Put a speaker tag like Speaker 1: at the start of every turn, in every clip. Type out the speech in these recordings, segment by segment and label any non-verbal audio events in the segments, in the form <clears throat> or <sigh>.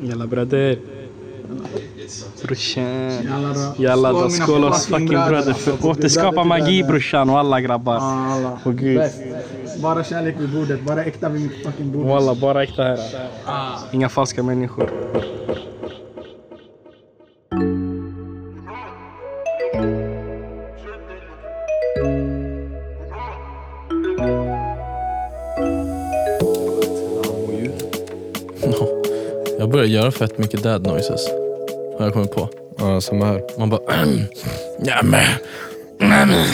Speaker 1: Jalla brother. Brorsan.
Speaker 2: Jalla då.
Speaker 1: Jalla
Speaker 2: Skål,
Speaker 1: då.
Speaker 2: mina
Speaker 1: Skål oss
Speaker 2: fucking
Speaker 1: fucking brother.
Speaker 2: bröder. Ah,
Speaker 1: För återskapa magi brorsan. Walla grabbar.
Speaker 2: Alla.
Speaker 1: Åh gud.
Speaker 2: Bäst. Bara kärlek vid bordet, bara äkta vid mitt fucking bord.
Speaker 1: Walla, bara äkta här.
Speaker 2: Ah.
Speaker 1: Inga falska människor.
Speaker 3: Jag börjar göra fett mycket dad noises. Har jag kommit på.
Speaker 4: Ja, samma här.
Speaker 3: Man bara... <clears throat> ja, men, ja, men.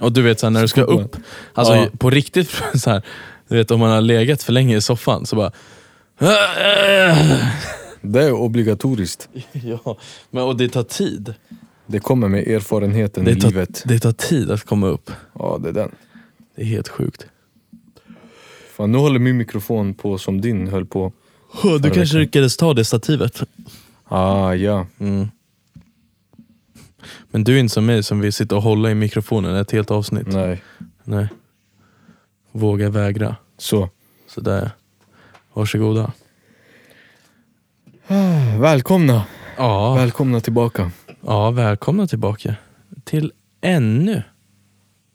Speaker 3: och du vet så här, när du ska upp, alltså
Speaker 4: Ja.
Speaker 3: på riktigt, <laughs> så här, du vet om man har legat för länge i soffan så bara... <clears throat>
Speaker 4: Det är obligatoriskt.
Speaker 3: ja, men, och det tar tid.
Speaker 4: Det kommer med erfarenheten
Speaker 3: Det
Speaker 4: i
Speaker 3: tar,
Speaker 4: livet.
Speaker 3: det tar tid att komma upp.
Speaker 4: Ja, det är den.
Speaker 3: Det är helt sjukt.
Speaker 4: Fan, nu håller min mikrofon på som din höll på.
Speaker 3: Du kanske
Speaker 4: veckan.
Speaker 3: lyckades ta det stativet.
Speaker 4: Ah, ja.
Speaker 3: Mm. Men du är inte som mig som vill sitta och hålla i mikrofonen ett helt avsnitt.
Speaker 4: Nej.
Speaker 3: Nej. Våga vägra.
Speaker 4: Så.
Speaker 3: Sådär. Varsågoda.
Speaker 4: Välkomna.
Speaker 3: Ja,
Speaker 4: Välkomna tillbaka.
Speaker 3: ja, välkomna tillbaka till ännu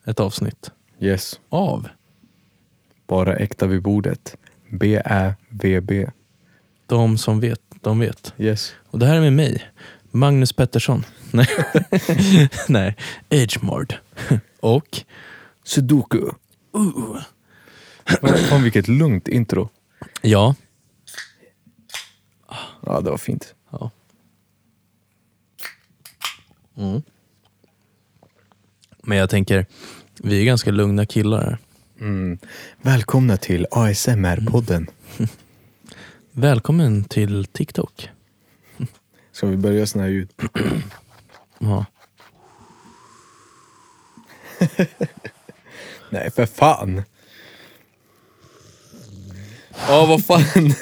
Speaker 3: ett avsnitt
Speaker 4: Yes.
Speaker 3: av
Speaker 4: Bara äkta vid bordet. B-Ä-V-B.
Speaker 3: De som vet, de vet.
Speaker 4: Yes.
Speaker 3: Och det här är med mig, Magnus Pettersson. <laughs> Nej, Nej. Edgemord. <laughs> Och
Speaker 4: Sudoku.
Speaker 3: Uh.
Speaker 4: Fan vilket lugnt intro.
Speaker 3: ja,
Speaker 4: Ja, det var fint.
Speaker 3: ja. Mm. Men jag tänker, vi är ganska lugna killar här.
Speaker 4: Välkomna till ASMR-podden.
Speaker 3: Välkommen till TikTok.
Speaker 4: Ska vi börja såna här ljud?
Speaker 3: Ja.
Speaker 4: Nej, för fan! Ja, vad fan!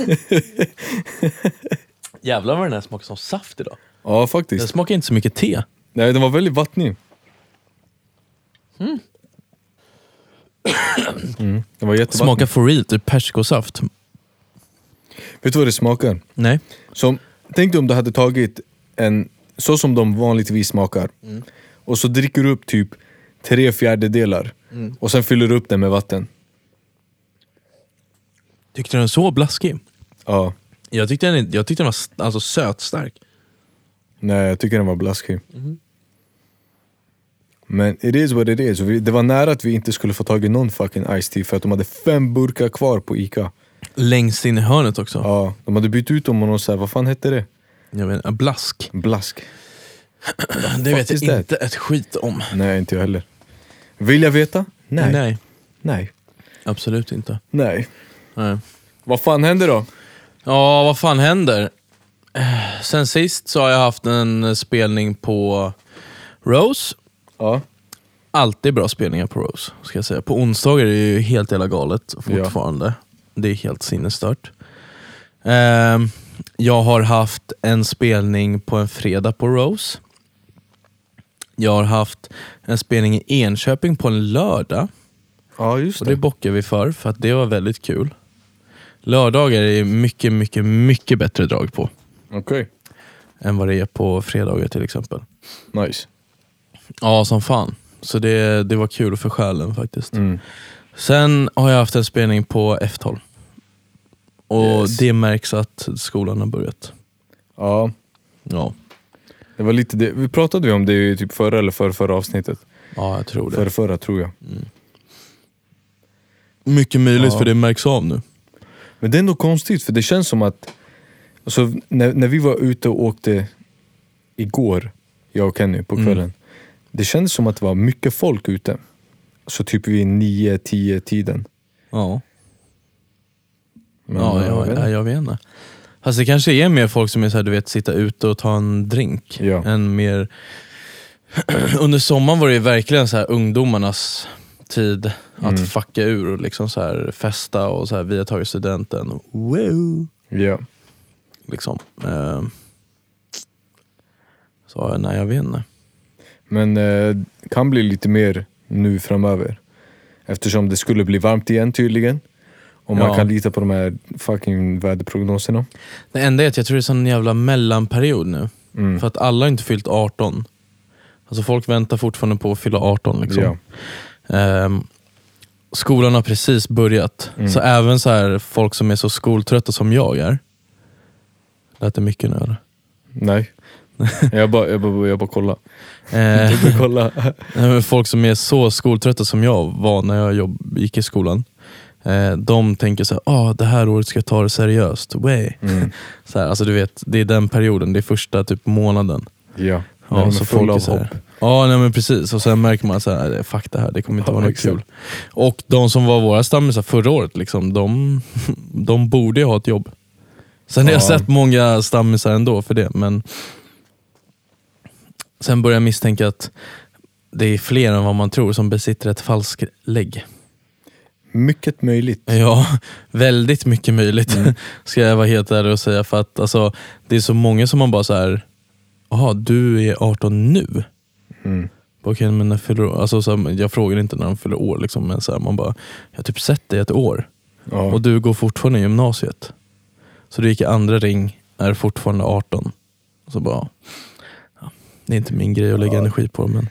Speaker 3: <laughs> Jävlar vad den här smakar som saft idag.
Speaker 4: Ja,
Speaker 3: Den
Speaker 4: faktiskt.
Speaker 3: smakar inte så mycket te.
Speaker 4: Nej, den var väldigt vattnig. Mm. Mm, Den var jättevattnig.
Speaker 3: Smakar for real typ persikosaft.
Speaker 4: Vet du vad det smakar?
Speaker 3: Nej.
Speaker 4: Som, tänk dig om du hade tagit en, så som de vanligtvis smakar, och så dricker du upp typ tre fjärdedelar, och sen fyller du upp den med vatten.
Speaker 3: Tyckte den så blaskig?
Speaker 4: Ja,
Speaker 3: Jag tyckte den, jag tyckte den var s- alltså, sötstark.
Speaker 4: nej jag tycker den var blaskig. Men it is what it is. Vi, det var nära att vi inte skulle få tag i någon fucking Ice Tea för att de hade fem burkar kvar på Ica.
Speaker 3: Längst in i hörnet också.
Speaker 4: Ja, de hade bytt ut dem och någon så här, vad fan hette det?
Speaker 3: Jag vet, en blask.
Speaker 4: Blask.
Speaker 3: Det vet
Speaker 4: is
Speaker 3: jag
Speaker 4: that?
Speaker 3: inte ett skit om.
Speaker 4: Nej, inte jag heller. Vill jag veta? Nej. Nej.
Speaker 3: Nej,
Speaker 4: Nej.
Speaker 3: absolut inte. Nej.
Speaker 4: Vad fan händer då?
Speaker 3: Ja, vad fan händer? Eh, Sen sist så har jag haft en eh, spelning på Rose.
Speaker 4: Ja.
Speaker 3: Alltid bra spelningar på Rose, ska jag säga. På onsdagar är det ju helt jävla galet fortfarande. Det är helt sinnesstört. Ehm, jag har haft en spelning på en fredag på Rose. Jag har haft en spelning i Enköping på en lördag.
Speaker 4: Ja, just
Speaker 3: Och det
Speaker 4: det.
Speaker 3: bockar vi för, för att det var väldigt kul. Lördagar är mycket, mycket, mycket bättre drag på
Speaker 4: Okej.
Speaker 3: än vad det är på fredagar till exempel.
Speaker 4: Nice.
Speaker 3: Ja, som fan. Så det, det var kul för själen faktiskt.
Speaker 4: Mm.
Speaker 3: Sen har jag haft en spelning på F12. Och
Speaker 4: Yes.
Speaker 3: det märks att skolan har börjat.
Speaker 4: Ja,
Speaker 3: Ja,
Speaker 4: det var lite det. Vi pratade ju om det i typ förra eller förra, förra avsnittet.
Speaker 3: ja jag tror det.
Speaker 4: Förra, förra tror jag.
Speaker 3: Mycket möjligt
Speaker 4: Ja.
Speaker 3: för det märks av nu.
Speaker 4: Men det är ändå konstigt för det känns som att alltså, när, när vi var ute och åkte igår, jag och Kenny, på kvällen. Det kändes som att det var mycket folk ute. Så typ vid 9-10 tiden.
Speaker 3: Ja,
Speaker 4: Men,
Speaker 3: ja, eh, jag,
Speaker 4: vet
Speaker 3: ja, jag vet inte. Fast det kanske är mer folk som är så här, du vet, sitta ute och ta en drink.
Speaker 4: Ja.
Speaker 3: Än mer... <clears throat> Under sommaren var det ju verkligen så här ungdomarnas tid att fucka ur och liksom så här festa och så här, vi har tagit studenten. Wow!
Speaker 4: Ja.
Speaker 3: Liksom. Eh, Så nej, jag vet inte.
Speaker 4: Men eh, kan bli lite mer nu framöver. Eftersom det skulle bli varmt igen tydligen. Om man
Speaker 3: Ja.
Speaker 4: kan lita på de här fucking väderprognoserna.
Speaker 3: Det enda är att jag tror det är sån jävla mellanperiod nu.
Speaker 4: Mm.
Speaker 3: För att alla har inte fyllt 18. Alltså folk väntar fortfarande på att fylla 18. Liksom.
Speaker 4: Ja.
Speaker 3: Ehm, skolan har precis börjat.
Speaker 4: Mm.
Speaker 3: Så även så här, folk som är så skoltrötta som jag är. Lät det mycket nu
Speaker 4: <laughs>
Speaker 3: eller? <laughs>
Speaker 4: Nej. jag bara, jag bara, jag bara kolla.
Speaker 3: Ehm,
Speaker 4: Jag bara kolla.
Speaker 3: Nej, men folk som är så skoltrötta som jag var när jag jobb, gick i skolan. Eh, de tänker så här, ah, det här året ska jag ta det seriöst. Way. <laughs> Så här, alltså du vet, det är den perioden, det är första typ månaden.
Speaker 4: ja.
Speaker 3: Ja,
Speaker 4: Nej, men
Speaker 3: så
Speaker 4: full
Speaker 3: folk
Speaker 4: av
Speaker 3: är så här-
Speaker 4: hopp.
Speaker 3: Ja, nej, men precis. Och sen märker man så här, fuck det här, det kommer inte
Speaker 4: Ja,
Speaker 3: vara något
Speaker 4: exakt.
Speaker 3: kul. Och de som var våra stammisar förra året, liksom, de, <laughs> de borde ju ha ett jobb. Sen har jag
Speaker 4: Ja.
Speaker 3: sett många stammisar ändå för det, men sen börjar jag misstänka att det är fler än vad man tror som besitter ett falsklägg.
Speaker 4: Mycket möjligt.
Speaker 3: <laughs> Ja, väldigt mycket möjligt <laughs> ska jag vara helt ärlig och säga. För att alltså, det är så många som man bara så här, jaha du är 18 nu?
Speaker 4: Mm.
Speaker 3: Bara, Okej, men när fyller du år?" alltså, så här, jag frågar inte när de fyller år, liksom, men så här, man bara, jag har typ sett dig ett år
Speaker 4: Ja.
Speaker 3: och du går fortfarande i gymnasiet. Så du gick i andra ring, är fortfarande 18. Så bara, ja, det är inte min grej att lägga energi på. Men,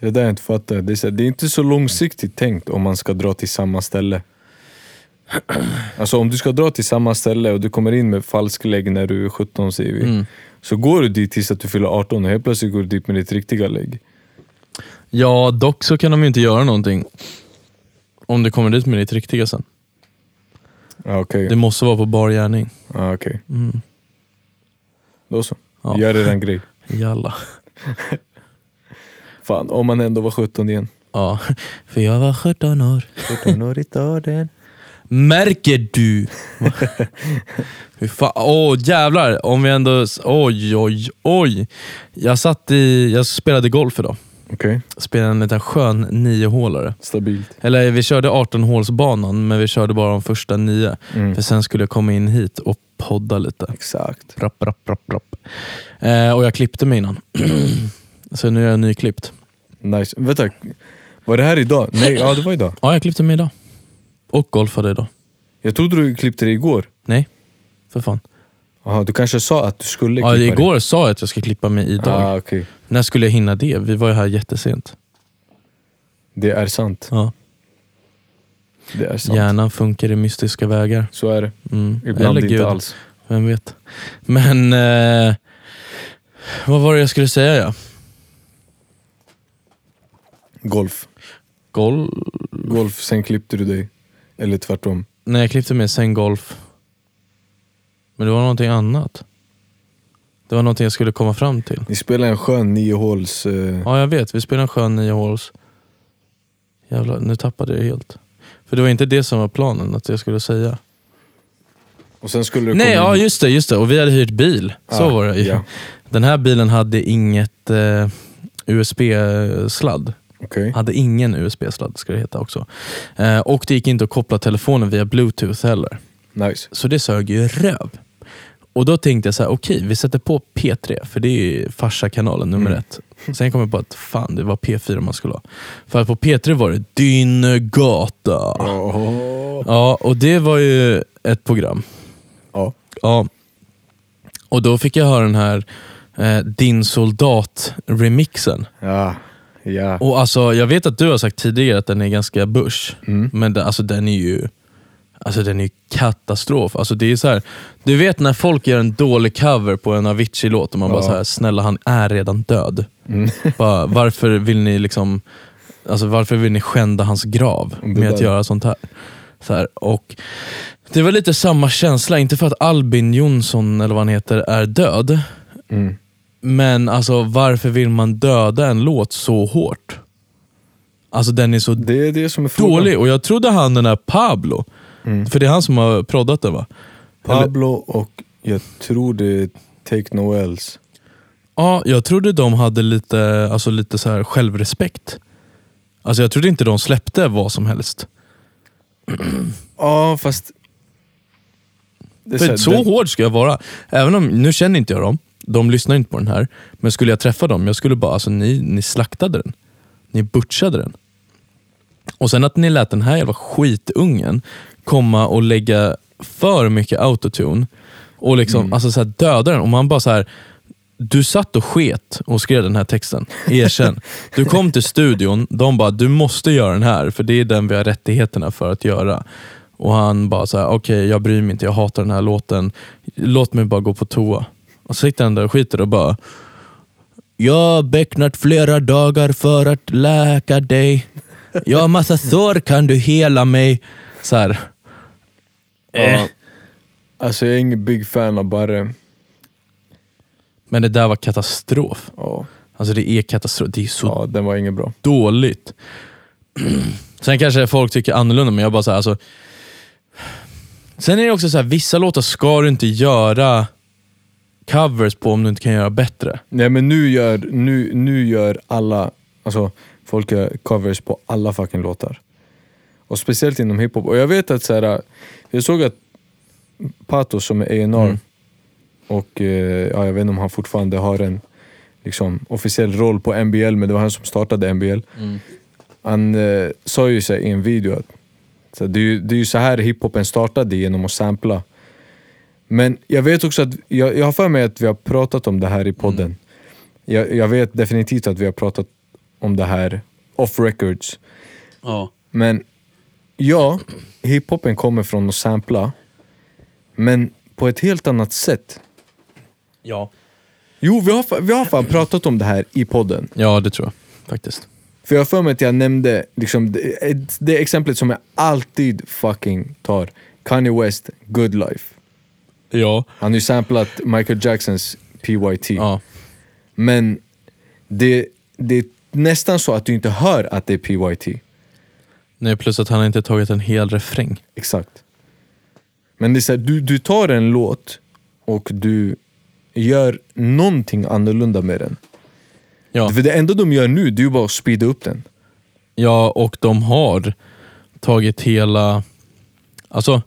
Speaker 4: Det där jag inte fattar. Det är, så här, det är inte så långsiktigt tänkt om man ska dra till samma ställe. Alltså om du ska dra till samma ställe och du kommer in med falsk lägg när du är 17 säger vi.
Speaker 3: Mm.
Speaker 4: Så går du dit tills att du fyller 18 och helt plötsligt går du dit med ditt riktiga lägg.
Speaker 3: ja, dock så kan de ju inte göra någonting om du kommer dit med ditt riktiga sen.
Speaker 4: Ja, Okej,
Speaker 3: Det måste vara på bar gärning.
Speaker 4: ja, okej.
Speaker 3: Mm.
Speaker 4: då så.
Speaker 3: Ja.
Speaker 4: Gör er en grej.
Speaker 3: Jalla.
Speaker 4: Fan, om man ändå var 17 igen.
Speaker 3: Ja, för jag var 17 år.
Speaker 4: 17 år i staden.
Speaker 3: Märker du? Hur fan, åh jävlar, om vi ändå... Oj, oj, oj. Jag satt i... Jag spelade golf idag.
Speaker 4: Okej,
Speaker 3: Spelade en liten skön niohålare.
Speaker 4: stabilt.
Speaker 3: Eller vi körde 18-hålsbanan, men vi körde bara de första nio. För sen skulle jag komma in hit och podda lite.
Speaker 4: Exakt.
Speaker 3: Rapp, rapp, rapp, rapp. Eh, och jag klippte mig innan. <clears throat> Så nu är jag nyklippt.
Speaker 4: Nice. Vänta, var det här idag? Nej, ja det var idag.
Speaker 3: Ja, jag klippte mig idag. Och golfade idag.
Speaker 4: Jag trodde du klippte det igår.
Speaker 3: Nej, för fan.
Speaker 4: Jaha, du kanske sa att du skulle
Speaker 3: Ja,
Speaker 4: klippa det?
Speaker 3: igår sa jag att jag ska klippa mig idag.
Speaker 4: Ah, okej.
Speaker 3: När skulle jag hinna det? Vi var ju här jättesent.
Speaker 4: Det är sant.
Speaker 3: Ja.
Speaker 4: Det är sant.
Speaker 3: Hjärnan funkar i mystiska vägar.
Speaker 4: Så är det.
Speaker 3: Mm.
Speaker 4: Ibland inte alls.
Speaker 3: Vem vet. Men eh, vad var det jag skulle säga? Ja?
Speaker 4: Golf.
Speaker 3: Golf?
Speaker 4: Golf, sen klippte du dig. Eller tvärtom.
Speaker 3: Nej, jag klippte mig sen golf. Men det var någonting annat. Det var någonting jag skulle komma fram till.
Speaker 4: Ni spelar en skön niohåls... Eh,
Speaker 3: Ja, jag vet. Vi spelade en skön nio håls. Jävlar, nu tappade jag helt. För det var inte det som var planen, att jag skulle säga.
Speaker 4: och sen skulle du
Speaker 3: Nej,
Speaker 4: komma
Speaker 3: ja
Speaker 4: in.
Speaker 3: just det, just det. Och vi hade hyrt bil. Så
Speaker 4: Ah,
Speaker 3: var det ju.
Speaker 4: ja.
Speaker 3: Den här bilen hade inget eh, USB-sladd.
Speaker 4: Okej.
Speaker 3: Hade ingen USB-sladd ska det heta också. Eh, och det gick inte att koppla telefonen via bluetooth heller.
Speaker 4: Nice.
Speaker 3: Så det sög ju röv. Och då tänkte jag så här, okej vi sätter på P3, för det är ju farsakanalen nummer ett. Sen kom jag på att fan det var P4 man skulle ha. För att på P3 var det Dyngata.
Speaker 4: Åh.
Speaker 3: Ja, och det var ju ett program.
Speaker 4: Ja.
Speaker 3: Ja. Och då fick jag höra den här eh, Din soldat-remixen.
Speaker 4: Ja. Ja.
Speaker 3: Och alltså, jag vet att du har sagt tidigare att den är ganska bush, men det, alltså, den är ju Alltså den är ju katastrof. Alltså, det är så här, du vet när folk gör en dålig cover på en Avicii-låt och man bara så här, snälla han är redan död. <laughs> Bara, varför vill ni liksom Alltså varför vill ni skända hans grav med att
Speaker 4: där-
Speaker 3: göra sånt här? Så här och det var lite samma känsla, inte för att Albin Jonsson, eller vad han heter, är död.
Speaker 4: Mm.
Speaker 3: Men alltså varför vill man döda en låt så hårt? Alltså den är så
Speaker 4: Det är det som är frågan.
Speaker 3: dålig och jag trodde han den här Pablo, för det är han som har proddat den va? Eller-
Speaker 4: Mm. Pablo och jag tror det är Take No Else.
Speaker 3: Ja, jag trodde de hade lite, alltså lite så här självrespekt. Alltså jag trodde inte de släppte vad som helst.
Speaker 4: Ja, fast... Det är
Speaker 3: För
Speaker 4: här,
Speaker 3: så
Speaker 4: den-
Speaker 3: hård ska jag vara. Även om, nu känner inte jag dem, de lyssnar inte på den här. Men skulle jag träffa dem, jag skulle bara, alltså ni, ni slaktade den. Ni butchade den. Och sen att ni lät den här jävla skitungen komma och lägga för mycket autotune och liksom,
Speaker 4: Mm.
Speaker 3: alltså så här, döda den. Och man bara så här, du satt och sket och skrev den här texten, erkänn. Du kom till studion, de bara, du måste göra den här, för det är den vi har rättigheterna för att göra. Och han bara, så här, okej jag bryr mig inte, jag hatar den här låten. Låt mig bara gå på toa. Och så sitter han där och skiter och bara, jag har becknat flera dagar för att läka dig. Jag har massa sår, kan du hela mig? Så här. Eh.
Speaker 4: Alltså jag är ingen big fan av Barre.
Speaker 3: Men det där var katastrof.
Speaker 4: Ja,
Speaker 3: Alltså det är katastrof. Det är så
Speaker 4: ja, den var ingen bra.
Speaker 3: dåligt. Sen kanske folk tycker annorlunda, men jag bara så här, alltså. Sen är det också så här, vissa låtar ska du inte göra covers på om du inte kan göra bättre.
Speaker 4: Nej men nu gör, nu, nu gör alla, alltså folk gör covers på alla fucking låtar. Och speciellt inom hiphop. Och jag vet att så här, jag såg att Pato som är A&R
Speaker 3: Mm.
Speaker 4: och eh, ja, jag vet inte om han fortfarande har en liksom, officiell roll på NBL, men det var han som startade NBL. Han eh, sa ju så här, i en video att så här, det, är ju, det är ju så här hiphopen startade, genom att sampla. Men jag vet också att, jag, jag har för mig att vi har pratat om det här i podden. Jag, jag vet definitivt att vi har pratat om det här off records.
Speaker 3: Ja.
Speaker 4: Men ja, hiphopen kommer från att sampla, men på ett helt annat sätt.
Speaker 3: Ja,
Speaker 4: Jo, vi har, fa- vi har fan pratat om det här i podden.
Speaker 3: ja det tror jag faktiskt.
Speaker 4: För jag har för mig att jag nämnde liksom, det, ett- det exemplet som jag alltid fucking tar. Kanye West, Good Life.
Speaker 3: Ja.
Speaker 4: Han har ju samplat Michael Jacksons PYT.
Speaker 3: ja.
Speaker 4: Men det, det är nästan så att du inte hör att det är PYT.
Speaker 3: Nej, plus att han inte tagit en hel refräng.
Speaker 4: Exakt. Men det är så här, du, du tar en låt och du gör någonting annorlunda med den.
Speaker 3: Ja.
Speaker 4: För det enda de gör nu, det är ju bara att speeda upp den.
Speaker 3: Ja, och de har tagit hela... Alltså,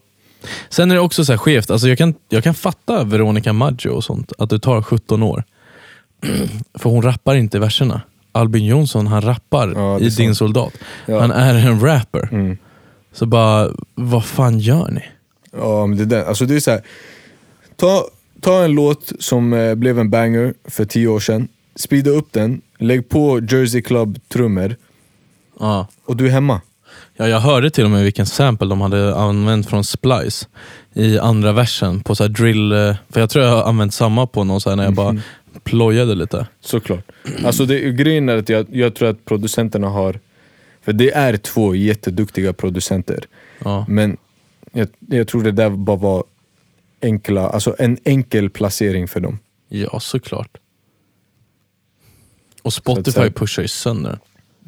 Speaker 3: sen är det också så här skevt. Alltså jag, kan, jag kan fatta Veronica Maggio och sånt, att det tar 17 år. <clears throat> För hon rappar inte verserna. Albin Jonsson, han rappar
Speaker 4: Ja, det
Speaker 3: i
Speaker 4: är
Speaker 3: Din
Speaker 4: sant.
Speaker 3: soldat.
Speaker 4: Ja.
Speaker 3: Han är en rapper.
Speaker 4: Mm.
Speaker 3: Så bara, vad fan gör ni?
Speaker 4: Ja, men det där. Alltså det är så här. Ta, ta en låt som eh, blev en banger för tio år sedan, speeda upp den, lägg på Jersey Club-trummor
Speaker 3: Ja.
Speaker 4: och du är hemma.
Speaker 3: Ja, jag hörde till och med vilken sample de hade använt från Splice i andra versen på så här drill... eh, För jag tror jag har använt samma på någon så här när jag
Speaker 4: Mhm.
Speaker 3: bara plojade lite.
Speaker 4: Såklart. Alltså det, grejen är att jag, jag tror att producenterna har, för det är två jätteduktiga producenter,
Speaker 3: Ja.
Speaker 4: men jag, jag tror det där bara var enkla, alltså en enkel placering för dem.
Speaker 3: Ja, såklart. Och
Speaker 4: att
Speaker 3: Spotify
Speaker 4: säga-
Speaker 3: pushar ju sönder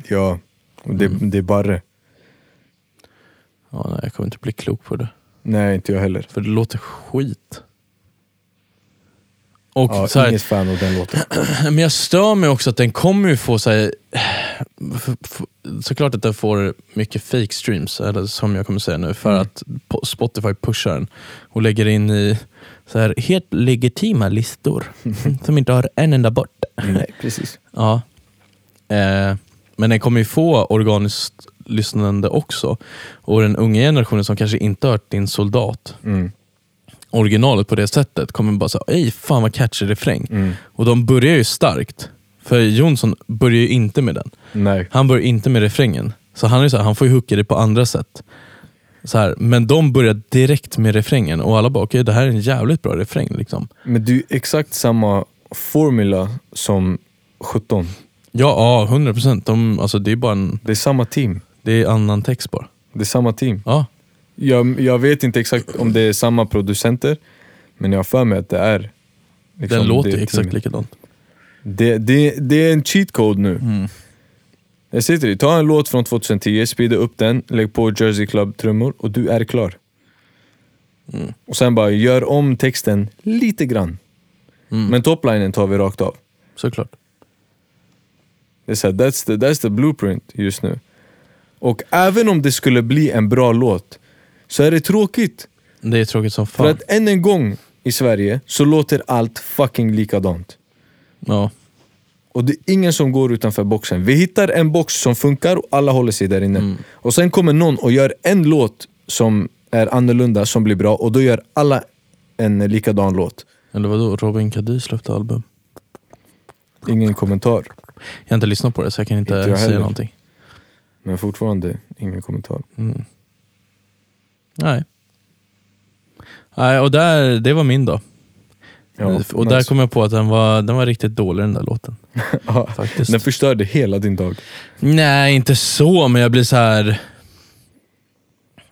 Speaker 4: Ja, och det,
Speaker 3: Mm.
Speaker 4: det är bara
Speaker 3: ja, nej, Jag kommer inte bli klok på det.
Speaker 4: Nej, inte jag heller.
Speaker 3: För det låter skit. Och
Speaker 4: Ja,
Speaker 3: så här,
Speaker 4: inget fan av den
Speaker 3: <laughs>
Speaker 4: låten.
Speaker 3: Men jag stör mig också att den kommer ju få så här, f- f- Såklart att den får mycket fake streams, eller som jag kommer säga nu,
Speaker 4: Mm.
Speaker 3: för att po- Spotify pushar den och lägger in i så här, helt legitima
Speaker 4: <laughs>
Speaker 3: listor som inte har en enda bort.
Speaker 4: Nej, precis.
Speaker 3: Ja. Eh, men den kommer ju få organiskt lyssnande också. Och den unga generationen som kanske inte hört din soldat,
Speaker 4: Mm.
Speaker 3: originalet på det sättet, kommer bara säga ej fan vad catchy refräng. Och de börjar ju starkt. För Jonsson börjar ju inte med den.
Speaker 4: Nej.
Speaker 3: Han börjar inte med refrängen. Så han, är ju så här, han får ju hooka det på andra sätt. Så här, men de börjar direkt med refrängen och alla bara, okej det här är en jävligt bra refräng. Liksom.
Speaker 4: Men det är ju exakt samma formula som 17.
Speaker 3: Ja, ja, 100%. De, alltså, det är bara en,
Speaker 4: Det är samma team.
Speaker 3: det är annan text bara.
Speaker 4: Det är samma team.
Speaker 3: Ja,
Speaker 4: Jag, jag vet inte exakt om det är samma producenter, men jag har för mig att det är. liksom,
Speaker 3: Den låter
Speaker 4: det
Speaker 3: ju exakt
Speaker 4: teamet.
Speaker 3: likadant.
Speaker 4: Det, det, det är en cheat code nu.
Speaker 3: Mm.
Speaker 4: Jag säger till dig, ta en låt från 2010, speeda upp den, lägg på Jersey Club-trummor och du är klar.
Speaker 3: Mm.
Speaker 4: Och sen bara gör om texten lite grann.
Speaker 3: Mm.
Speaker 4: Men toplinen tar vi rakt av.
Speaker 3: Såklart.
Speaker 4: Det är så här, that's, the, that's the blueprint just nu. Och även om det skulle bli en bra låt, så är det tråkigt.
Speaker 3: Det är tråkigt som fan.
Speaker 4: För att än en gång i Sverige så låter allt fucking likadant.
Speaker 3: Ja.
Speaker 4: Och det är ingen som går utanför boxen. Vi hittar en box som funkar och alla håller sig där inne. Och sen kommer någon och gör en låt som är annorlunda, som blir bra och då gör alla en likadan låt.
Speaker 3: Eller vadå, Robin Kadir släppte album.
Speaker 4: Ingen kommentar.
Speaker 3: Jag har inte lyssnat på det så jag kan inte,
Speaker 4: Inte jag
Speaker 3: säga
Speaker 4: heller.
Speaker 3: någonting.
Speaker 4: Men fortfarande ingen kommentar.
Speaker 3: Mm. Nej. Nej, och där, det var min dag.
Speaker 4: Ja,
Speaker 3: och där
Speaker 4: nice.
Speaker 3: kom jag på att den var, den var riktigt dålig den där låten.
Speaker 4: Ja,
Speaker 3: Faktiskt.
Speaker 4: Den förstörde hela din dag.
Speaker 3: Nej, inte så, men jag blir så här.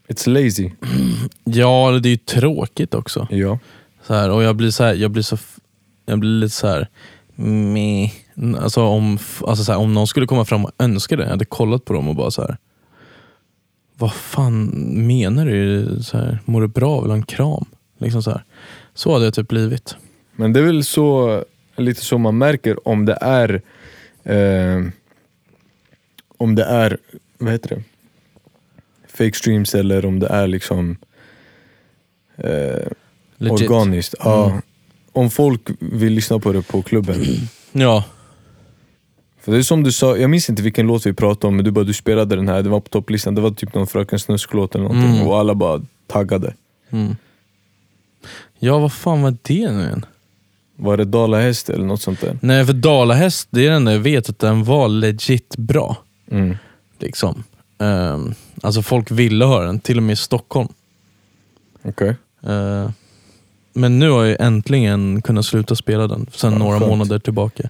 Speaker 4: It's lazy.
Speaker 3: Ja, det är ju tråkigt också.
Speaker 4: Ja.
Speaker 3: Så här, och jag blir så här, jag blir så, f- jag blir lite så här. Meh. Alltså om, f- alltså så här, om någon skulle komma fram och önska det, jag hade kollat på dem och bara så här. Vad fan menar du? Så här, mår du bra? Vill du ha en kram? Liksom så, här. så hade jag typ blivit.
Speaker 4: Men det är väl så, lite så man märker om det är eh, om det är, vad heter det? Fake streams eller om det är liksom eh,
Speaker 3: Legit.
Speaker 4: organiskt. Ja.
Speaker 3: Mm.
Speaker 4: Om folk vill lyssna på det på klubben. <clears throat>
Speaker 3: Ja,
Speaker 4: För det är som du sa, jag minns inte vilken låt vi pratade om men du bara du spelade den här, den var på topplistan, det var typ någon Fröken Snusk-låt eller någonting
Speaker 3: Mm.
Speaker 4: och alla bara taggade.
Speaker 3: Mm. Ja, vad fan var det nu igen?
Speaker 4: Var det Dalahäst eller något sånt där?
Speaker 3: Nej, för Dalahäst, det är den där jag vet att den var legit bra.
Speaker 4: Mm.
Speaker 3: Liksom. Ehm, alltså folk ville höra den, till och med i Stockholm.
Speaker 4: Okej.
Speaker 3: Ehm, men nu har jag äntligen kunnat sluta spela den, sen
Speaker 4: Ja,
Speaker 3: några
Speaker 4: skönt.
Speaker 3: månader tillbaka.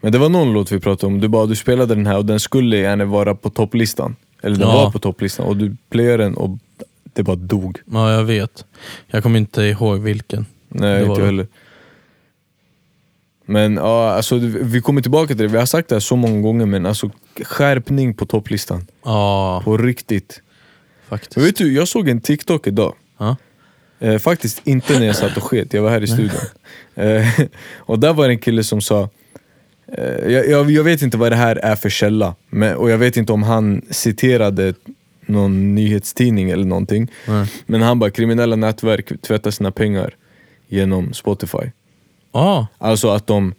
Speaker 4: Men det var någon låt vi pratade om, du bara du spelade den här och den skulle gärna vara på topplistan. Eller den
Speaker 3: Ja.
Speaker 4: var på topplistan och du playade den och det bara dog.
Speaker 3: Ja, jag vet. Jag kommer inte ihåg vilken.
Speaker 4: Nej,
Speaker 3: Det var
Speaker 4: inte
Speaker 3: det.
Speaker 4: jag heller. Men ja, alltså vi vi kommer tillbaka till det, vi har sagt det här så många gånger men alltså skärpning på topplistan.
Speaker 3: Ja,
Speaker 4: På riktigt. Men
Speaker 3: faktiskt.
Speaker 4: vet du, jag såg en TikTok idag.
Speaker 3: Ja.
Speaker 4: Eh, faktiskt inte när jag satt och sket, jag var här i studion. Eh, <laughs> och där var det en kille som sa, eh, jag, jag, jag vet inte vad det här är för källa, men, och jag vet inte om han citerade någon nyhetstidning eller någonting.
Speaker 3: Nej.
Speaker 4: Men han bara, kriminella nätverk tvättar sina pengar genom Spotify.
Speaker 3: Ja,
Speaker 4: Alltså att de,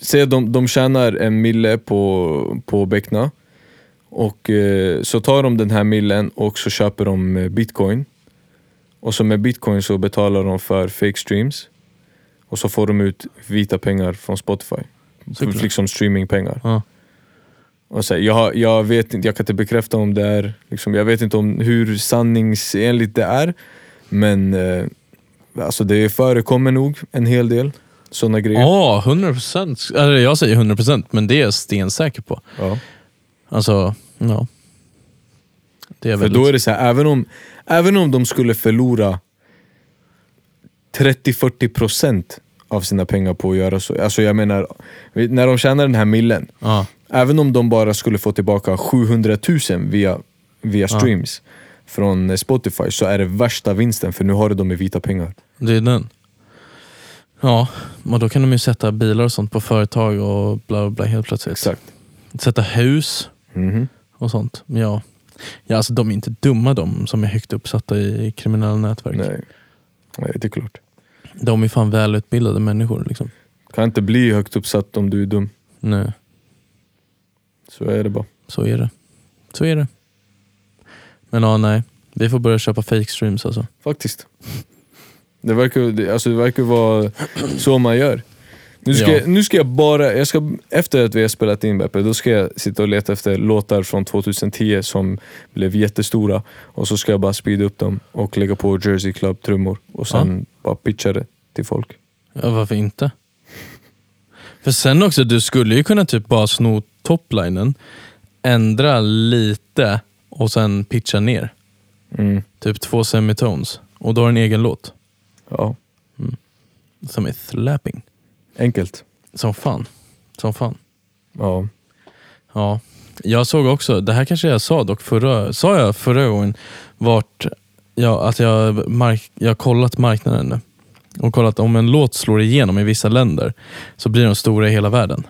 Speaker 4: säg att de, de tjänar en mille på, på Beckna och eh, så tar de den här millen och så köper de eh, bitcoin och så med bitcoin så betalar de för fake streams och så får de ut vita pengar från Spotify.
Speaker 3: Såklart.
Speaker 4: Liksom streamingpengar.
Speaker 3: Ja.
Speaker 4: Och så här, jag, jag, vet inte, jag kan inte bekräfta om det är, liksom, jag vet inte om hur sanningsenligt det är men eh, alltså det förekommer nog en hel del sådana grejer.
Speaker 3: ja 100%. Eller jag säger 100% men det är jag stensäker på.
Speaker 4: Ja.
Speaker 3: Alltså, ja. Det är
Speaker 4: För
Speaker 3: väldigt...
Speaker 4: då är det så här, även om, även om de skulle förlora 30-40% av sina pengar på att göra så. Alltså jag menar, när de tjänar den här millen,
Speaker 3: Ja,
Speaker 4: även om de bara skulle få tillbaka 700 000 via, via streams från eh, Spotify så är det värsta vinsten för nu har de i vita pengar.
Speaker 3: det är den. Ja, men då kan de ju sätta bilar och sånt på företag och bla bla, bla helt plötsligt. Sätta hus
Speaker 4: Mhm.
Speaker 3: och sånt. Men Ja. Ja, alltså de är inte dumma de som är högt uppsatta i kriminella nätverk.
Speaker 4: Nej. Nej, det är klart.
Speaker 3: De är fan välutbildade människor. Liksom.
Speaker 4: Kan inte bli högt uppsatt om du är dum.
Speaker 3: Nej,
Speaker 4: Så är det bara.
Speaker 3: så är det. Så är det. Men ja, nej. Vi får börja köpa fake streams alltså.
Speaker 4: Faktiskt. Det verkar, det- alltså det verkar vara så man gör. Nu ska,
Speaker 3: Ja.
Speaker 4: jag, nu ska jag bara, jag ska, efter att vi har spelat in Beppe, då ska jag sitta och leta efter låtar från 2010 som blev jättestora och så ska jag bara speeda upp dem och lägga på Jersey Club trummor och sen bara pitcha det till folk.
Speaker 3: Ja, varför inte? För sen också, du skulle ju kunna typ bara sno toplinen, ändra lite och sen pitcha ner.
Speaker 4: Mm.
Speaker 3: Typ två semitones. Och då har du en egen låt
Speaker 4: Ja,
Speaker 3: som är slapping.
Speaker 4: enkelt.
Speaker 3: Som fan. Som fan.
Speaker 4: Ja.
Speaker 3: Ja. Jag såg också, det här kanske jag sa dock förra, sa jag förra gången, vart jag, att jag, mark, jag har kollat marknaden nu. Och kollat om en låt slår igenom i vissa länder så blir de stora i hela världen.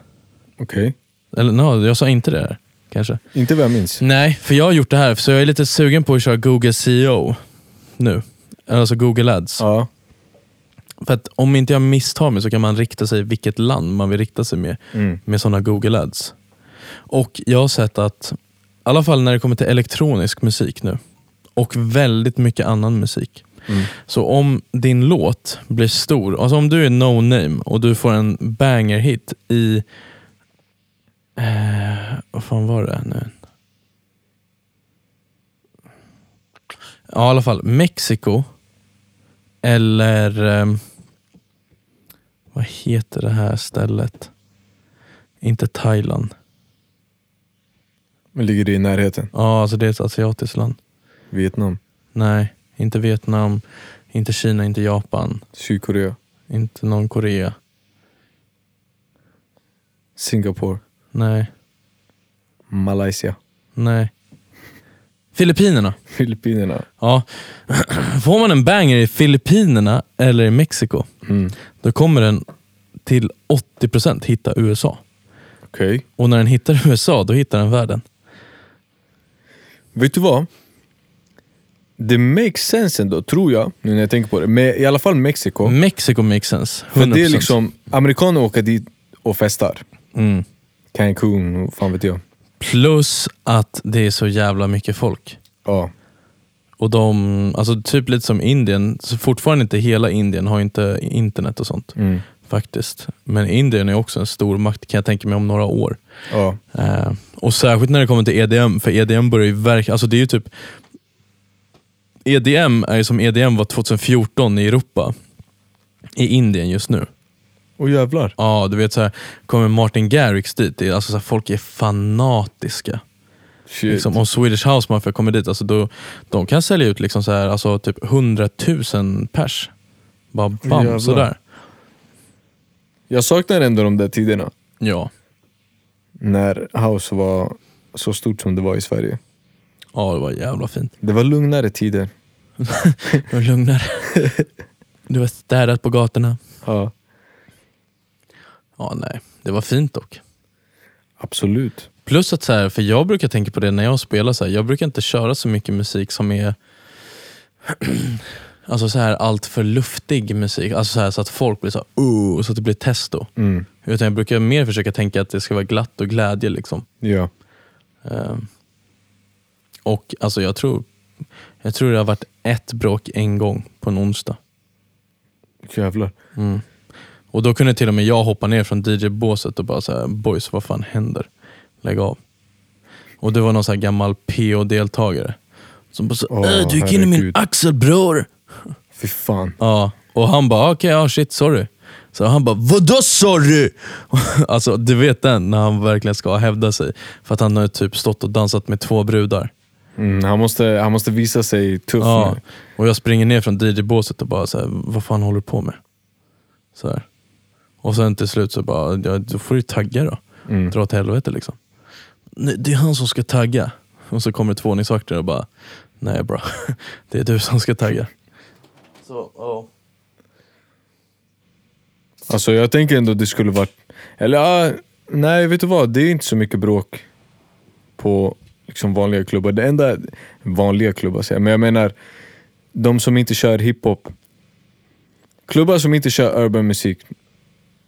Speaker 4: Okej.
Speaker 3: Eller no, jag sa inte det här, kanske.
Speaker 4: Inte vad jag minns.
Speaker 3: Nej, för jag har gjort det här, så jag är lite E sugen på att köra Google SEO nu. Alltså Google Ads.
Speaker 4: Ja.
Speaker 3: För att om inte jag misstar mig så kan man rikta sig vilket land man vill rikta sig med,
Speaker 4: Mm.
Speaker 3: med sådana Google ads. Och jag har sett att, i alla fall när det kommer till elektronisk musik nu, och väldigt mycket annan musik. Så om din låt blir stor, alltså om du är no name och du får en banger hit i, eh, vad fan var det nu? Ja, i alla fall Mexiko. Eller ehm, vad heter det här stället? Inte Thailand.
Speaker 4: Men ligger det i närheten?
Speaker 3: Ja, alltså det är ett asiatiskt land.
Speaker 4: Vietnam,
Speaker 3: Nej, inte Vietnam, inte Kina, inte Japan,
Speaker 4: Sydkorea,
Speaker 3: inte någon Korea.
Speaker 4: Singapore,
Speaker 3: Nej,
Speaker 4: Malaysia,
Speaker 3: nej. Filippinerna.
Speaker 4: Filippinerna.
Speaker 3: Ja. <clears throat> Får man en banger i Filippinerna eller i Mexiko,
Speaker 4: Mm.
Speaker 3: då kommer den till 80% hitta USA.
Speaker 4: Okej.
Speaker 3: Och när den hittar <laughs> USA, då hittar den världen.
Speaker 4: Vet du vad? Det makes sense ändå, tror jag, nu när jag tänker på det. Men i alla fall Mexiko.
Speaker 3: Mexiko makes sense. 100%.
Speaker 4: För det är liksom, amerikaner åker dit och festar.
Speaker 3: mm.
Speaker 4: Cancun och fan vet jag.
Speaker 3: Plus att det är så jävla mycket folk.
Speaker 4: Ja.
Speaker 3: Och de, alltså typ lite som Indien, så fortfarande inte hela Indien har inte internet och sånt.
Speaker 4: Mm.
Speaker 3: Faktiskt. Men Indien är också en stor makt kan jag tänka mig om några år.
Speaker 4: ja.
Speaker 3: Eh, och särskilt när det kommer till EDM, för EDM börjar ju verka, alltså det är ju typ EDM är ju som EDM var 2014 i Europa. I Indien just nu.
Speaker 4: Och jävlar.
Speaker 3: Ja, du vet så här, kommer Martin Garrix dit, det är, alltså så här, folk är fanatiska.
Speaker 4: Shit.
Speaker 3: Liksom, om Swedish House Mafia kommer dit, alltså då, de kan sälja ut liksom så här, alltså typ 100 000 pers. Bara bam,
Speaker 4: Jävlar.
Speaker 3: sådär.
Speaker 4: Jag saknar ändå de där tiderna.
Speaker 3: Ja.
Speaker 4: När house var så stort som det var i Sverige.
Speaker 3: ja, det var jävla fint.
Speaker 4: Det var lugnare tider.
Speaker 3: Det var
Speaker 4: <laughs>
Speaker 3: lugnare. du var städat på gatorna.
Speaker 4: Ja.
Speaker 3: Ja, nej. Det var fint dock.
Speaker 4: Absolut.
Speaker 3: Plus att så här, för jag brukar tänka på det när jag spelar, så här, jag brukar inte köra så mycket musik som är <clears throat> alltså så här, allt för luftig musik. Alltså så, här, så att folk blir så här, "Oh", så att det blir testo.
Speaker 4: Mm.
Speaker 3: Utan jag brukar mer försöka tänka att det ska vara glatt och glädje. Liksom.
Speaker 4: Ja.
Speaker 3: Eh, och alltså jag tror, jag tror det har varit ett bråk en gång på en onsdag.
Speaker 4: Jävlar.
Speaker 3: Och då kunde till och med jag hoppa ner från DJ-båset och bara säga boys vad fan händer? Lägg av. Och det var någon så här gammal PO-deltagare som bara så,
Speaker 4: Åh,
Speaker 3: "Äh, du gick in i min
Speaker 4: herregud."
Speaker 3: axel bror.
Speaker 4: Fy fan.
Speaker 3: Ja, och han bara okej, ja shit sorry. Så han bara vadå sorry? <laughs> alltså du vet den när han verkligen ska hävda sig. För att han har typ stått och dansat med två brudar.
Speaker 4: Mm, han, måste, han måste visa sig tuff
Speaker 3: Ja,
Speaker 4: nu.
Speaker 3: och jag springer ner från DJ-båset och bara, så här, vad fan håller du på med? Så här. Och sen till slut så bara, ja, då får du tagga då.
Speaker 4: Mm.
Speaker 3: Dra åt helvete liksom. Nej, det är han som ska tagga. Och så kommer det två ordningsvakter och bara, nej bra, <laughs> det är du som ska tagga. Så, ja.
Speaker 4: Alltså jag tänker ändå det skulle varit... Eller ja, nej vet du vad? Det är inte så mycket bråk på liksom vanliga klubbar. Det enda... Vanliga klubbar säger jag, men jag menar de som inte kör hiphop. Klubbar som inte kör urban musik,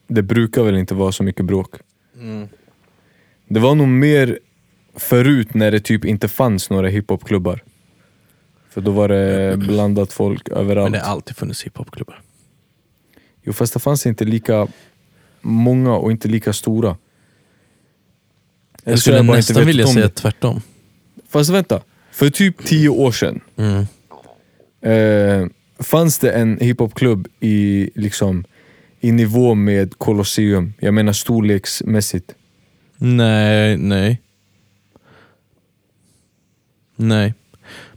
Speaker 4: det brukar väl inte vara så mycket bråk?
Speaker 3: Mm.
Speaker 4: Det var nog mer förut när det typ inte fanns några hiphopklubbar. För då var det blandat folk överallt.
Speaker 3: Men det har alltid funnits hiphopklubbar.
Speaker 4: Jo fast det fanns inte lika många och inte lika stora. Eller
Speaker 3: Jag
Speaker 4: så har
Speaker 3: skulle
Speaker 4: bara inte
Speaker 3: nästan
Speaker 4: vetat
Speaker 3: vilja
Speaker 4: om
Speaker 3: säga
Speaker 4: det.
Speaker 3: tvärtom.
Speaker 4: Fast vänta, för typ tio år sedan
Speaker 3: Mm.
Speaker 4: eh, fanns det en hiphopklubb i, liksom, i nivå med Colosseum. Jag menar storleksmässigt.
Speaker 3: Nej, nej. Nej.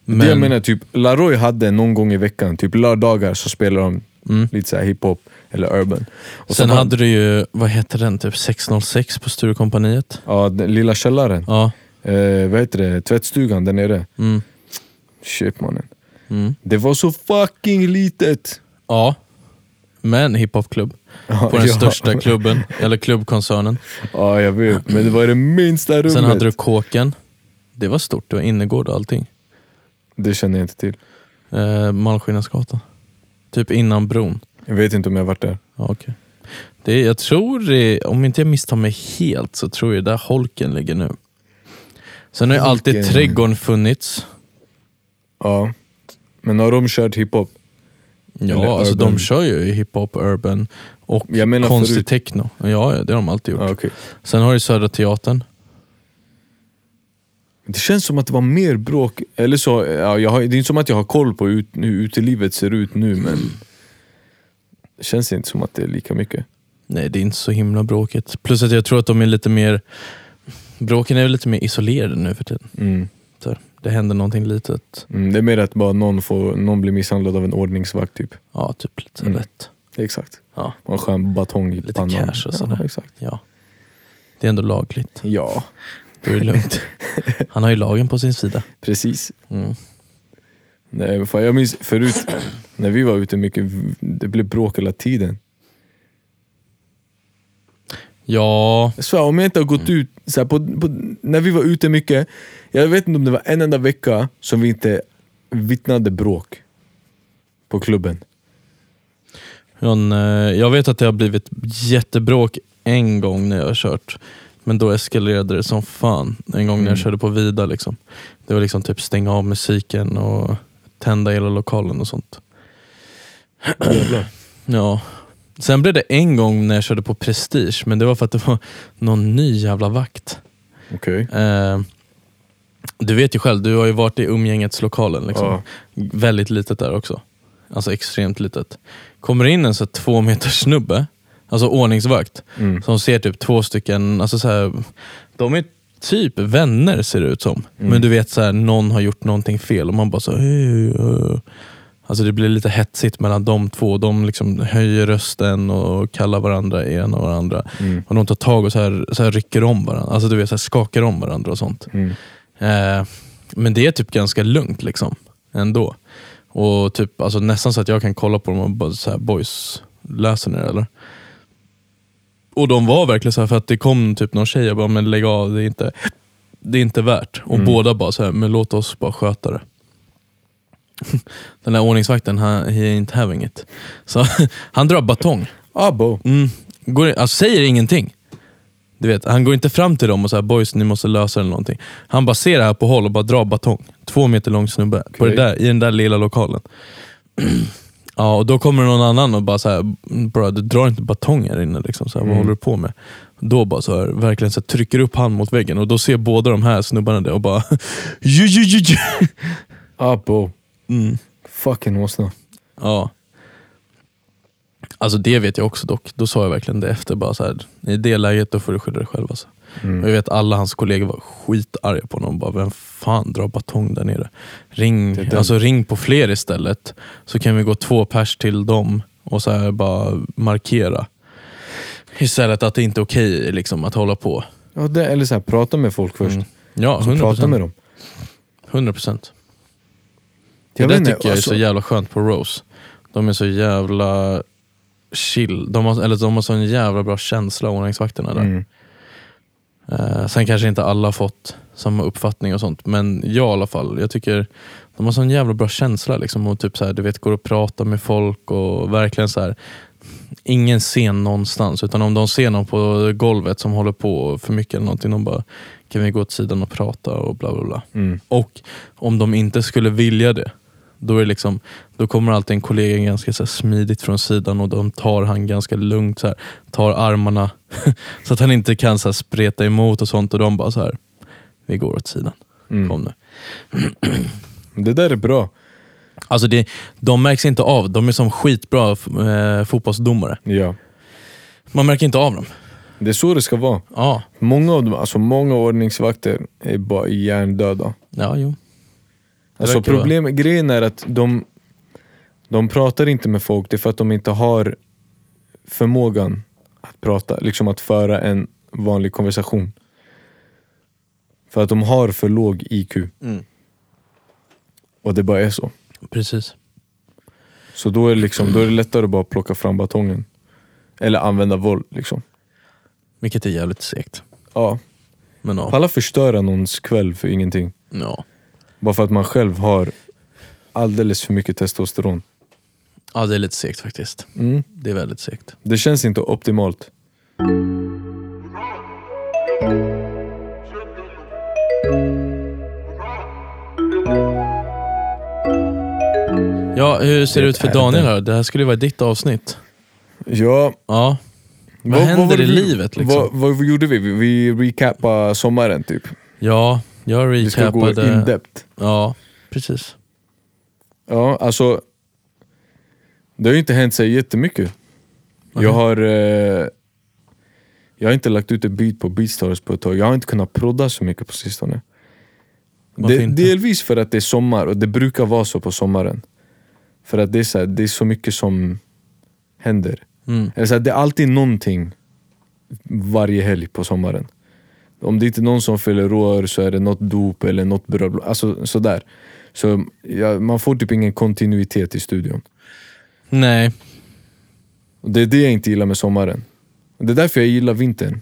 Speaker 4: Det jag menar typ, Laroy hade någon gång i veckan, typ lördagar så spelar de
Speaker 3: Mm.
Speaker 4: lite så här hiphop eller urban. Och
Speaker 3: Sen
Speaker 4: så
Speaker 3: hade du ju, vad heter den, typ 606 på Sturecompagniet.
Speaker 4: Ja, den lilla källaren.
Speaker 3: Ja.
Speaker 4: Eh, vad heter det? Tvättstugan där nere.
Speaker 3: Mm.
Speaker 4: Shit mannen.
Speaker 3: Mm.
Speaker 4: Det var så fucking litet!
Speaker 3: ja. Men hiphopklubb.
Speaker 4: Ja,
Speaker 3: På den
Speaker 4: ja.
Speaker 3: största klubben, eller klubbkoncernen.
Speaker 4: <laughs> Ja, jag vet. Men det var det minsta rummet.
Speaker 3: Sen hade du Kåken. Det var stort, det var innergård och allting.
Speaker 4: Det känner jag inte till.
Speaker 3: Eh, Malmskillnadsgatan. Typ innan bron.
Speaker 4: Jag vet inte om jag har varit där.
Speaker 3: Ja, okej. det, jag tror, det- om inte jag misstar mig helt, så tror jag där holken ligger nu. Sen har ju alltid
Speaker 4: Holken.
Speaker 3: trädgården funnits.
Speaker 4: Ja. Men har de kört hiphop? Eller
Speaker 3: Ja, alltså
Speaker 4: urban.
Speaker 3: de kör ju hiphop, urban och
Speaker 4: Jag menar
Speaker 3: konstig
Speaker 4: förut.
Speaker 3: techno. Ja, ja, det har de alltid gjort.
Speaker 4: Ja, okej.
Speaker 3: Sen har du Södra Teatern.
Speaker 4: Det känns som att det var mer bråk, eller så, ja, jag har, det är inte som att jag har koll på ut, hur utelivet ser ut nu men det känns inte som att det är lika mycket.
Speaker 3: Nej, det är inte så himla bråkigt. Plus att jag tror att de är lite mer... Bråken är lite mer isolerade nu för tiden.
Speaker 4: Mm.
Speaker 3: Så här, det händer någonting litet.
Speaker 4: Mm, det är mer att bara någon, får, någon blir misshandlad av en ordningsvakt typ.
Speaker 3: Ja, typ lite
Speaker 4: Mm.
Speaker 3: lätt.
Speaker 4: Exakt.
Speaker 3: Ja.
Speaker 4: Och en skön batong i
Speaker 3: Lite
Speaker 4: pannan.
Speaker 3: cash och sådär.
Speaker 4: Ja, exakt.
Speaker 3: ja. Det är ändå lagligt.
Speaker 4: Ja,
Speaker 3: Då är det
Speaker 4: <laughs>
Speaker 3: lugnt. Han har ju lagen på sin sida.
Speaker 4: precis.
Speaker 3: Mm.
Speaker 4: Nej, fan, jag minns förut när vi var ute mycket, det blev bråk hela tiden.
Speaker 3: Ja,
Speaker 4: Jag svär, om jag inte har gått
Speaker 3: Mm.
Speaker 4: ut, så här, på, på, när vi var ute mycket, jag vet inte om det var en enda vecka som vi inte vittnade bråk på klubben.
Speaker 3: hon, eh, jag vet att det har blivit jättebråk en gång när jag har kört. Men då eskalerade det som fan. En gång när jag körde på Vida. Liksom. Det var liksom typ stänga av musiken och tända hela lokalen och sånt. <clears throat> Ja. Sen blev det en gång när jag körde på Prestige, men det var för att det var någon ny jävla vakt.
Speaker 4: Okej.
Speaker 3: Eh, du vet ju själv, du har ju varit i umgängets lokalen. Liksom.
Speaker 4: Ja.
Speaker 3: Väldigt litet där också. Alltså extremt litet. Kommer in en så här två meter snubbe, alltså ordningsvakt,
Speaker 4: Mm.
Speaker 3: som ser typ två stycken, alltså så här, de är typ vänner ser det ut som.
Speaker 4: Mm.
Speaker 3: Men du vet, så här, någon har gjort någonting fel och man bara så här, "Hej, eh." Alltså det blir lite hetsigt mellan de två. De liksom höjer rösten och kallar varandra ena och varandra.
Speaker 4: Mm.
Speaker 3: Och de tar tag och så här, så här rycker om varandra. Alltså du vet, så här, skakar om varandra och sånt.
Speaker 4: Mm.
Speaker 3: Eh, men det är typ ganska lugnt liksom ändå. Och typ, alltså nästan så att jag kan kolla på dem och bara så här, boys, läser ni det eller? Och de var verkligen så här för att det kom typ någon tjej och bara, men lägg av, det är inte, det är inte värt. Och båda bara så här, men låt oss bara sköta det. <laughs> Den där ordningsvakten, han he ain't having it. Så <laughs> han drar batong.
Speaker 4: Abo.
Speaker 3: Mm. Går, alltså, säger ingenting. Du vet, han går inte fram till dem och säger boys ni måste lösa det eller någonting. Han bara ser det här på håll och bara drar batong. Två meter lång snubbe på det
Speaker 4: Okej.
Speaker 3: där, i den där lilla lokalen. <clears throat> ja, och då kommer någon annan och bara så här, bro, du drar inte batong här inne. Liksom, så här, Vad håller du på med? Då bara så här, verkligen så här, trycker upp hand mot väggen och då ser båda de här snubbarna det och bara <laughs> ju, ju, ju, ju.
Speaker 4: Abo.
Speaker 3: Mm.
Speaker 4: Fucking åsna.
Speaker 3: Ja. Alltså det vet jag också dock. Då sa jag verkligen det efter. Bara så här, I det läget då får du skydda dig själv. Alltså.
Speaker 4: Mm.
Speaker 3: Och jag vet alla hans kollegor var skitarga på honom. Bara, Vem fan drar batong där nere?
Speaker 4: är
Speaker 3: Ring,
Speaker 4: den.
Speaker 3: alltså, ring på fler istället. Så kan vi gå två pers till dem och så här bara markera. Istället att det inte är okej liksom, att hålla på.
Speaker 4: Ja, det, eller så här, prata med folk först.
Speaker 3: Mm. Ja,
Speaker 4: Så Alltså, prata med
Speaker 3: 100%.
Speaker 4: dem.
Speaker 3: 100%. Det
Speaker 4: Jag
Speaker 3: där
Speaker 4: vet inte, alltså,
Speaker 3: tycker jag är så jävla skönt på Rose. De är så jävla chill. De har, eller de har sån jävla bra känsla, ordningsvakterna där.
Speaker 4: Mm.
Speaker 3: Eh, sen kanske inte alla har fått samma uppfattning och sånt, men jag i alla fall. Jag tycker de har sån jävla bra känsla liksom, och typ så här, du vet, går och pratar med folk och verkligen så här. Ingen scen någonstans, utan om de ser någon på golvet som håller på för mycket eller någonting, de bara kan vi gå åt sidan och prata och bla bla bla.
Speaker 4: Mm.
Speaker 3: Och om de inte skulle vilja det, då, är det liksom, då kommer alltid en kollega ganska så här smidigt från sidan och de tar han ganska lugnt, så här, tar armarna <laughs> så att han inte kan så här spreta emot och sånt och de bara så här. vi går åt sidan. Kom nu.
Speaker 4: Det där är bra.
Speaker 3: Alltså det, de märks inte av, de är som skitbra eh, fotbollsdomare.
Speaker 4: Ja.
Speaker 3: Man märker inte av dem.
Speaker 4: Det är så det ska vara.
Speaker 3: Ja,
Speaker 4: Många av dem, alltså många ordningsvakter är bara hjärndöda.
Speaker 3: ja jo. Det
Speaker 4: Alltså
Speaker 3: verkar vara-
Speaker 4: problem, grejen är att de, de pratar inte med folk, det är för att de inte har förmågan att prata, liksom att föra en vanlig konversation. För att de har för låg IQ.
Speaker 3: Mm.
Speaker 4: Och det bara är så.
Speaker 3: Precis.
Speaker 4: Så då är, det liksom, då är det lättare att bara plocka fram batongen. Eller använda våld liksom.
Speaker 3: Vilket är jävligt segt.
Speaker 4: Ja.
Speaker 3: Men ja.
Speaker 4: Palla förstöra någons kväll för ingenting.
Speaker 3: ja.
Speaker 4: Bara för att man själv har alldeles för mycket testosteron.
Speaker 3: Ja, det är lite segt faktiskt.
Speaker 4: Mm.
Speaker 3: Det är väldigt segt.
Speaker 4: Det känns inte optimalt.
Speaker 3: Ja, hur ser det,
Speaker 4: Det
Speaker 3: ut för
Speaker 4: är
Speaker 3: Daniel
Speaker 4: det.
Speaker 3: här? Det här skulle ju vara ditt avsnitt.
Speaker 4: Ja,
Speaker 3: Ja. Vad,
Speaker 4: var
Speaker 3: händer
Speaker 4: det
Speaker 3: i
Speaker 4: vi-
Speaker 3: livet liksom?
Speaker 4: Vad, vad gjorde vi? Vi- Vi recapade sommaren typ.
Speaker 3: Ja, jag
Speaker 4: Vi ska gå
Speaker 3: recapade...
Speaker 4: in depth.
Speaker 3: Ja, precis.
Speaker 4: Ja, alltså. Det har ju inte hänt sig jättemycket. Jag har eh, Jag har inte lagt ut en beat på Beatstars på ett tag. Jag har inte kunnat prodda så mycket på sistone.
Speaker 3: Varför
Speaker 4: Det,
Speaker 3: inte?
Speaker 4: delvis för att det är sommar och det brukar vara så på sommaren. För att det är så, här, det är så mycket som händer.
Speaker 3: Mm.
Speaker 4: Eller så här, det är alltid någonting varje helg på sommaren. Om det inte är någon som fyller år så är det något dop eller något bröllop. Alltså sådär. Så ja, man får typ ingen kontinuitet i studion.
Speaker 3: Nej.
Speaker 4: Och det är det jag inte gillar med sommaren. Och det är därför jag gillar vintern.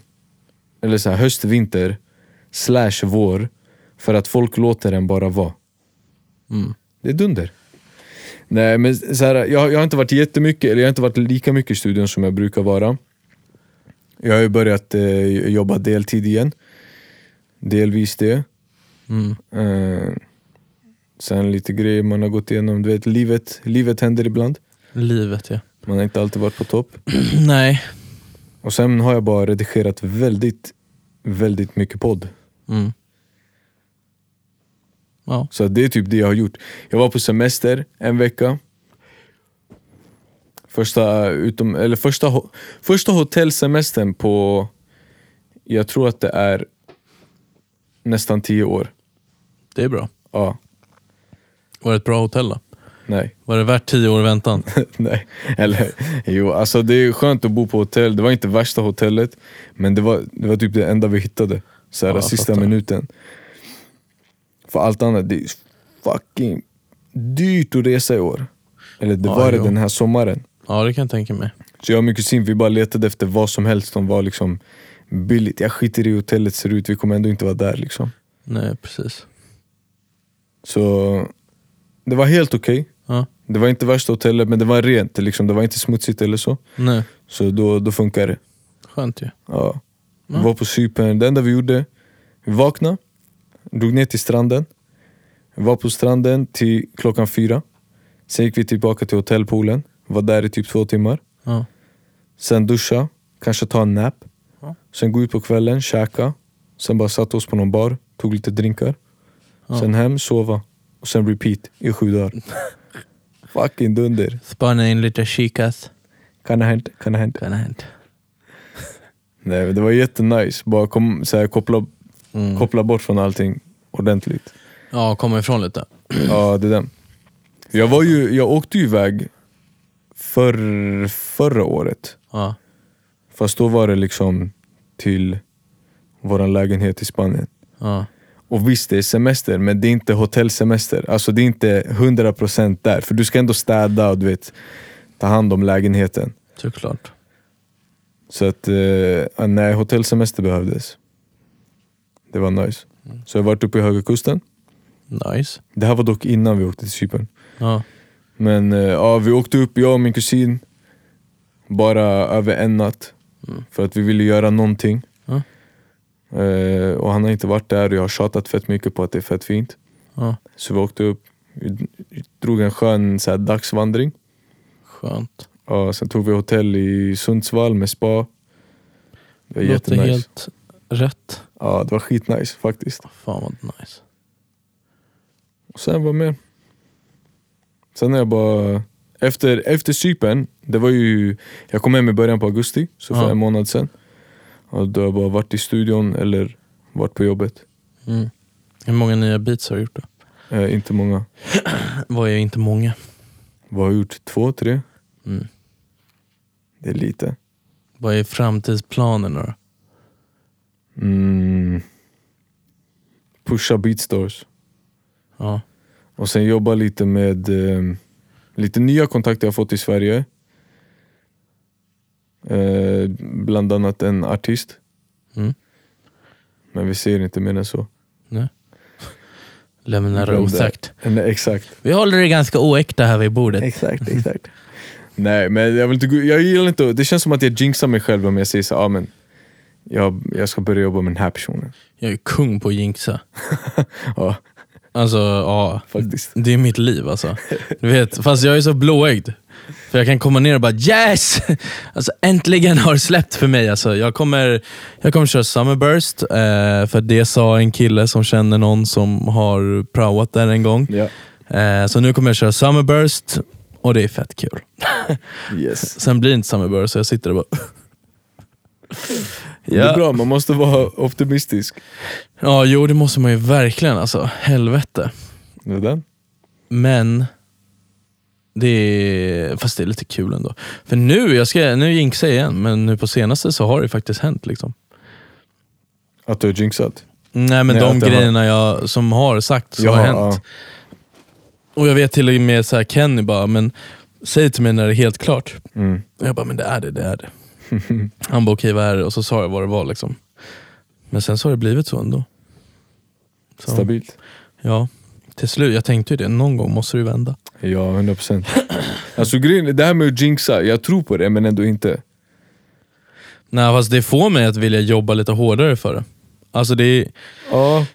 Speaker 4: Eller så här, höst, vinter, slash vår. För att folk låter den bara vara.
Speaker 3: Mm.
Speaker 4: Det är dunder. Nej men så här, jag, jag har inte varit jättemycket, eller jag har inte varit lika mycket i studion som jag brukar vara. Jag har ju börjat eh, jobba deltid igen. Delvis det.
Speaker 3: Mm.
Speaker 4: Eh, sen lite grejer man har gått igenom. Du vet, livet, livet händer ibland.
Speaker 3: Livet ja. <clears throat>
Speaker 4: Man har inte alltid varit på topp.
Speaker 3: Nej.
Speaker 4: Och sen har jag bara redigerat väldigt, väldigt mycket podd.
Speaker 3: Mm. Ja.
Speaker 4: Så det är typ det jag har gjort. Jag var på semester en vecka. Första, utom, eller första, ho- första hotellsemestern på, jag tror att det är nästan tio år.
Speaker 3: Det är bra.
Speaker 4: Ja,
Speaker 3: Var det ett bra hotell då?
Speaker 4: nej.
Speaker 3: Var det värt tio år
Speaker 4: <laughs>
Speaker 3: väntan?
Speaker 4: Nej, eller jo, alltså det är skönt att bo på hotell. Det var inte värsta hotellet, men det var, det var typ det enda vi hittade. Så här,
Speaker 3: Ja, jag
Speaker 4: sista
Speaker 3: fattar.
Speaker 4: minuten. För allt annat, det är fucking dyrt att resa i år. Eller det
Speaker 3: Ja,
Speaker 4: var det
Speaker 3: jo.
Speaker 4: den här sommaren.
Speaker 3: Ja, det kan jag tänka mig.
Speaker 4: Så jag och min kusin, vi bara letade efter vad som helst som var liksom billigt. Jag skiter i hur hotellet ser ut, vi kommer ändå inte vara där liksom.
Speaker 3: Nej, precis.
Speaker 4: Så det var helt okej.
Speaker 3: Ja.
Speaker 4: Det var inte värsta hotellet, men det var rent. Liksom. Det var inte smutsigt eller så.
Speaker 3: Nej,
Speaker 4: Så då, då funkar det.
Speaker 3: skönt ju.
Speaker 4: Ja. Vi
Speaker 3: Ja.
Speaker 4: var på Cypern, det enda vi gjorde, vi vaknade, drog ner till stranden. Vi var på stranden till klockan fyra. Sen gick vi tillbaka till hotellpoolen, var där i typ två timmar.
Speaker 3: Ja.
Speaker 4: Sen duscha, kanske ta en nap.
Speaker 3: Ja.
Speaker 4: Sen gå ut på kvällen, käka. Sen bara satt oss på någon bar, tog lite drinkar.
Speaker 3: Ja.
Speaker 4: Sen hem, sova. Och sen repeat i sju
Speaker 3: <laughs>
Speaker 4: dagar. Fucking dunder.
Speaker 3: Spana in lite chicas.
Speaker 4: Kan det hända, kan det hända.
Speaker 3: Kan ha hänt.
Speaker 4: Nej, men det var jättenice. Bara kom, så här, koppla, koppla bort från allting ordentligt.
Speaker 3: Ja, komma ifrån lite.
Speaker 4: Ja, det är den. Jag, var ju, jag åkte ju iväg för, förra året.
Speaker 3: Ja.
Speaker 4: Fast då var det liksom till vår lägenhet i Spanien.
Speaker 3: Ja.
Speaker 4: Och visst, det är semester, men det är inte hotellsemester. Alltså det är inte 100% där. För du ska ändå städa och du vet, ta hand om lägenheten.
Speaker 3: Såklart.
Speaker 4: Så att, eh, ja, nej, hotellsemester behövdes. Det var nice.
Speaker 3: Mm.
Speaker 4: Så jag har varit uppe i Höga Kusten.
Speaker 3: Nice.
Speaker 4: Det här var dock innan vi åkte till Cypern.
Speaker 3: Ja.
Speaker 4: Men eh, ja, vi åkte upp, jag och min kusin, bara över en natt. För att vi ville göra någonting.
Speaker 3: Mm. Ja.
Speaker 4: Eh, och han har inte varit där och jag har tjatat fett mycket på att det är fett fint.
Speaker 3: ja.
Speaker 4: Så vi åkte upp, vi vi drog en skön så här, dagsvandring.
Speaker 3: Skönt.
Speaker 4: Ja, sen tog vi hotell i Sundsvall med spa. Det var
Speaker 3: Låter
Speaker 4: jättenice.
Speaker 3: helt rätt.
Speaker 4: Ja, det var skitnice faktiskt.
Speaker 3: Fan vad nice.
Speaker 4: Och sen var mer. Sen är jag bara... Efter, efter Cypern, det var ju... Jag kom hem i början på augusti, så för
Speaker 3: Ja.
Speaker 4: en månad sen. Och då har jag bara varit i studion eller varit på jobbet.
Speaker 3: Mm. Hur många nya beats har du gjort då?
Speaker 4: Eh, inte många.
Speaker 3: Var ju inte många.
Speaker 4: Vad har jag gjort? Två, tre?
Speaker 3: Mm.
Speaker 4: Det är lite.
Speaker 3: Vad är framtidsplanerna då?
Speaker 4: Mm. Pusha beatstores.
Speaker 3: Ja.
Speaker 4: Och sen jobba lite med eh, lite nya kontakter jag fått i Sverige. Eh, bland annat en artist.
Speaker 3: Mm.
Speaker 4: Men vi ser inte mer än så.
Speaker 3: Lämnar det
Speaker 4: Glöm det.
Speaker 3: osagt.
Speaker 4: Nej, exakt. <laughs>
Speaker 3: Vi håller det ganska oäkta här vid bordet.
Speaker 4: Exakt, exakt. Nej, men jag, vill inte, gå- jag gillar inte Det känns som att jag jinxar mig själv om jag säger så ah, men jag, jag ska börja jobba med den här personen.
Speaker 3: Jag är kung på att jinxa.
Speaker 4: <laughs> Ja,
Speaker 3: Alltså, ja.
Speaker 4: faktiskt.
Speaker 3: Det är mitt liv alltså. Du vet, fast jag är så blåögd. För jag kan komma ner och bara yes! Alltså äntligen har det släppt för mig. Alltså, jag, kommer, jag kommer köra Summerburst, eh, för det sa en kille som känner någon som har praoat där en gång.
Speaker 4: Ja.
Speaker 3: Eh, så nu kommer jag köra Summerburst och det är fett kul.
Speaker 4: Yes.
Speaker 3: Sen blir det inte Summerburst så jag sitter och bara... <laughs>
Speaker 4: Det är
Speaker 3: ja.
Speaker 4: bra, man måste vara optimistisk.
Speaker 3: ja, jo det måste man ju verkligen alltså. Helvete.
Speaker 4: Det är den.
Speaker 3: Men det är, fast det är lite kul ändå. För nu, jag ska, nu jinxar jag igen, men nu på senaste så har det faktiskt hänt. Liksom.
Speaker 4: Att du har jinxat.
Speaker 3: Nej men
Speaker 4: Nej,
Speaker 3: de
Speaker 4: att det har-
Speaker 3: grejerna jag, som har sagt så
Speaker 4: Ja,
Speaker 3: har hänt. Och jag vet till och med så här, Kenny bara, men säg till mig när det är helt klart.
Speaker 4: Ja. Mm.
Speaker 3: Och jag bara, men det är det, det är
Speaker 4: <laughs>
Speaker 3: det. Han bara, okej vad är det? Och så sa jag vad det var. Liksom. Men sen så har det blivit så ändå. Så,
Speaker 4: Stabilt.
Speaker 3: Ja, till slut. Jag tänkte ju det, någon gång måste det ju vända.
Speaker 4: Ja, 100 procent. Alltså grejen, är- det här med att jinxa, jag tror på det men ändå inte.
Speaker 3: Nej fast det får mig att vilja jobba lite hårdare för det. Alltså det är,
Speaker 4: Ja,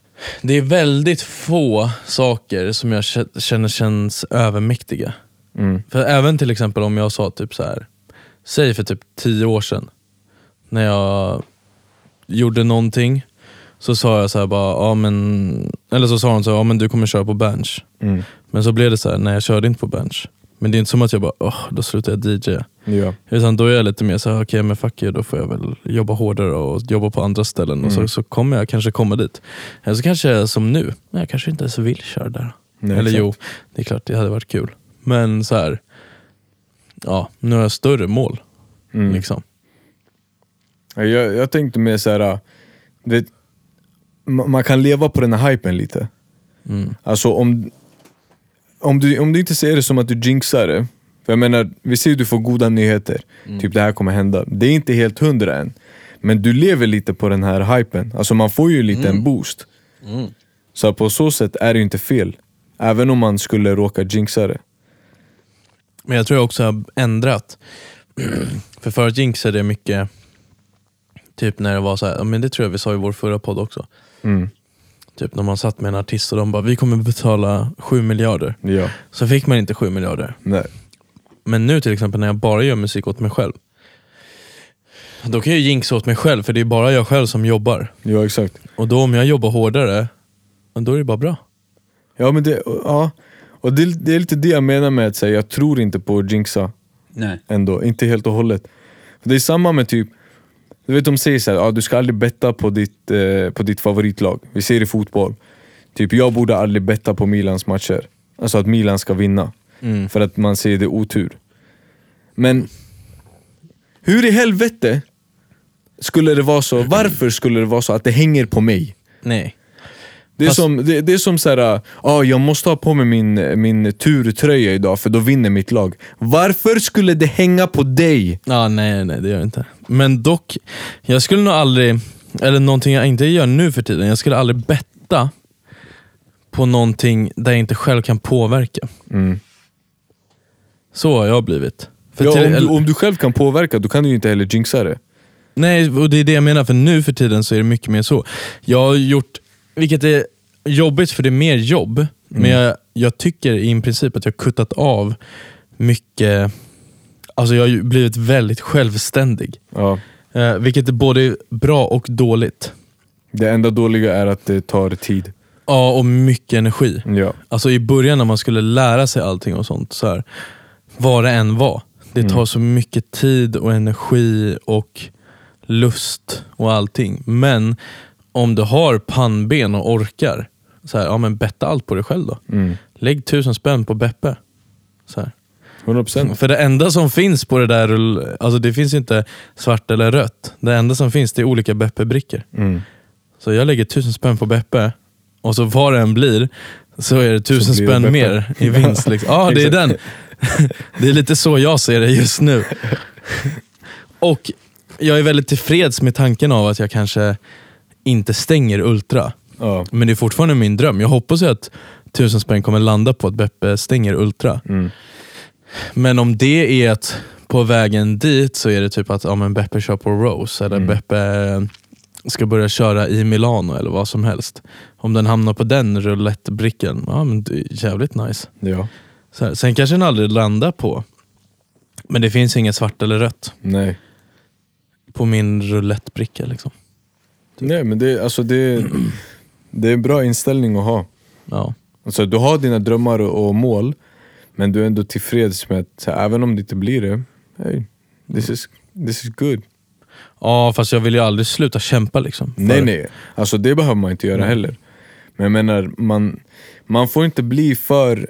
Speaker 3: det är väldigt få saker som jag kä- känner känns övermäktiga.
Speaker 4: mm.
Speaker 3: För även till exempel om jag sa typ så här, säg för typ tio år sedan, när jag gjorde någonting, så sa jag så här bara, ja men, eller så sa de så här, ja men du kommer köra på bench.
Speaker 4: Mm.
Speaker 3: Men så blev det så här, nej jag körde inte på bench. Men det är inte som att jag bara, åh, då slutar jag DJ.
Speaker 4: ja.
Speaker 3: Utan då är jag lite mer så här, okej men fuck it, då får jag väl jobba hårdare och jobba på andra ställen och så,
Speaker 4: Mm.
Speaker 3: så kommer jag kanske komma dit. Eller så kanske jag som nu, nej, jag kanske inte ens vill köra där.
Speaker 4: Nej,
Speaker 3: Eller
Speaker 4: exakt.
Speaker 3: jo, det är klart det hade varit kul. Men så här, ja, nu har jag större mål.
Speaker 4: Mm.
Speaker 3: Liksom.
Speaker 4: Ja, Jag, jag tänkte mer såhär, vet, ma- man kan leva på den här hypen lite.
Speaker 3: Mm.
Speaker 4: Alltså om, om, du, om du inte ser det som att du jinxar det, för jag menar, vi ser ju att du får goda nyheter, typ det här kommer hända. Det är inte helt hundra än, men du lever lite på den här hypen. Alltså man får ju lite en boost. Så på så sätt är det ju inte fel, även om man skulle råka jinxa det.
Speaker 3: Men jag tror jag också har ändrat. <clears throat> För förut jinxade jag mycket, typ när det var så här, ja, men det tror jag vi sa i vår förra podd också.
Speaker 4: Mm.
Speaker 3: Typ när man satt med en artist och de bara, vi kommer betala 7 miljarder.
Speaker 4: Ja,
Speaker 3: Så fick man inte 7 miljarder.
Speaker 4: nej.
Speaker 3: Men nu till exempel när jag bara gör musik åt mig själv. Då kan jag ju jinxa åt mig själv för det är bara jag själv som jobbar.
Speaker 4: Ja, exakt.
Speaker 3: Och då om jag jobbar hårdare, då är det bara bra.
Speaker 4: Ja, men det, ja. Och det, det är lite det jag menar med att säga, jag tror inte på att jinxa.
Speaker 5: Nej.
Speaker 4: ändå, inte helt och hållet. Det är samma med typ, du vet de säger såhär, ah, du ska aldrig betta på ditt, eh, på ditt favoritlag. Vi ser i fotboll, typ jag borde aldrig betta på Milans matcher. Alltså att Milan ska vinna, för att man ser det otur. Men hur i helvete skulle det vara så, varför skulle det vara så att det hänger på mig?
Speaker 3: Nej.
Speaker 4: Det är,
Speaker 3: Fast-
Speaker 4: som, det, det är som såhär, ah, jag måste ha på mig min, min turtröja idag för då vinner mitt lag. Varför skulle det hänga på dig?
Speaker 3: Ja, nej, nej, det gör jag inte. Men dock, jag skulle nog aldrig, eller någonting jag inte gör nu för tiden, jag skulle aldrig betta på någonting där jag inte själv kan påverka.
Speaker 4: Mm.
Speaker 3: Så har jag blivit. För
Speaker 4: Ja,
Speaker 3: till-
Speaker 4: om, du,
Speaker 3: eller-
Speaker 4: om du själv kan påverka, då kan du ju inte heller jinxa det.
Speaker 3: Nej, och det är det jag menar, för nu för tiden så är det mycket mer så. Jag har gjort, vilket är jobbigt för det är mer jobb, men jag, jag tycker i princip att jag har kuttat av mycket, alltså jag har ju blivit väldigt självständig.
Speaker 4: Ja.
Speaker 3: Eh, vilket är både bra och dåligt.
Speaker 4: Det enda dåliga är att det tar tid.
Speaker 3: Ja, och mycket energi.
Speaker 4: Ja.
Speaker 3: Alltså i början när man skulle lära sig allting och sånt, så här, vad det än var. Det tar så mycket tid och energi och lust och allting. Men om du har pannben och orkar, så här, ja men betta allt på dig själv då.
Speaker 4: Mm.
Speaker 3: Lägg tusen spänn på Beppe. Så här.
Speaker 4: 100%.
Speaker 3: För det enda som finns på det där, rull- alltså det finns inte svart eller rött. Det enda som finns det är olika Beppe-brickor.
Speaker 4: Mm.
Speaker 3: Så jag lägger tusen spänn på Beppe och så vad det än blir så är det tusen
Speaker 4: Så blir det
Speaker 3: spänn
Speaker 4: Beppe.
Speaker 3: mer i vinst. Liksom. Ja, det är den. <laughs> Det är lite så jag ser det just nu. Och jag är väldigt tillfreds med tanken av att jag kanske inte stänger Ultra.
Speaker 4: Ja.
Speaker 3: Men det är fortfarande min dröm. Jag hoppas ju att tusen spänn kommer landa på att Beppe stänger Ultra.
Speaker 4: Mm.
Speaker 3: Men om det är att på vägen dit så är det typ att ja, men Beppe kör på Rose
Speaker 4: Mm.
Speaker 3: eller Beppe ska börja köra i Milano eller vad som helst. Om den hamnar på den roulettebrickan, ja men det är jävligt nice.
Speaker 4: Ja.
Speaker 3: Så här, sen kanske den aldrig landar på, men det finns inget svart eller rött
Speaker 4: Nej.
Speaker 3: på min roulettebricka. Liksom.
Speaker 4: Nej men det, alltså det, det är en bra inställning att ha.
Speaker 3: Ja.
Speaker 4: Alltså, du har dina drömmar och, och mål, men du är ändå tillfreds med att så här, även om det inte blir det, hey, this, is, this is good.
Speaker 3: ja, fast jag vill ju aldrig sluta kämpa. Liksom, för- Mm.
Speaker 4: Nej nej, alltså det behöver man inte göra heller. Men jag menar, man, man får inte bli för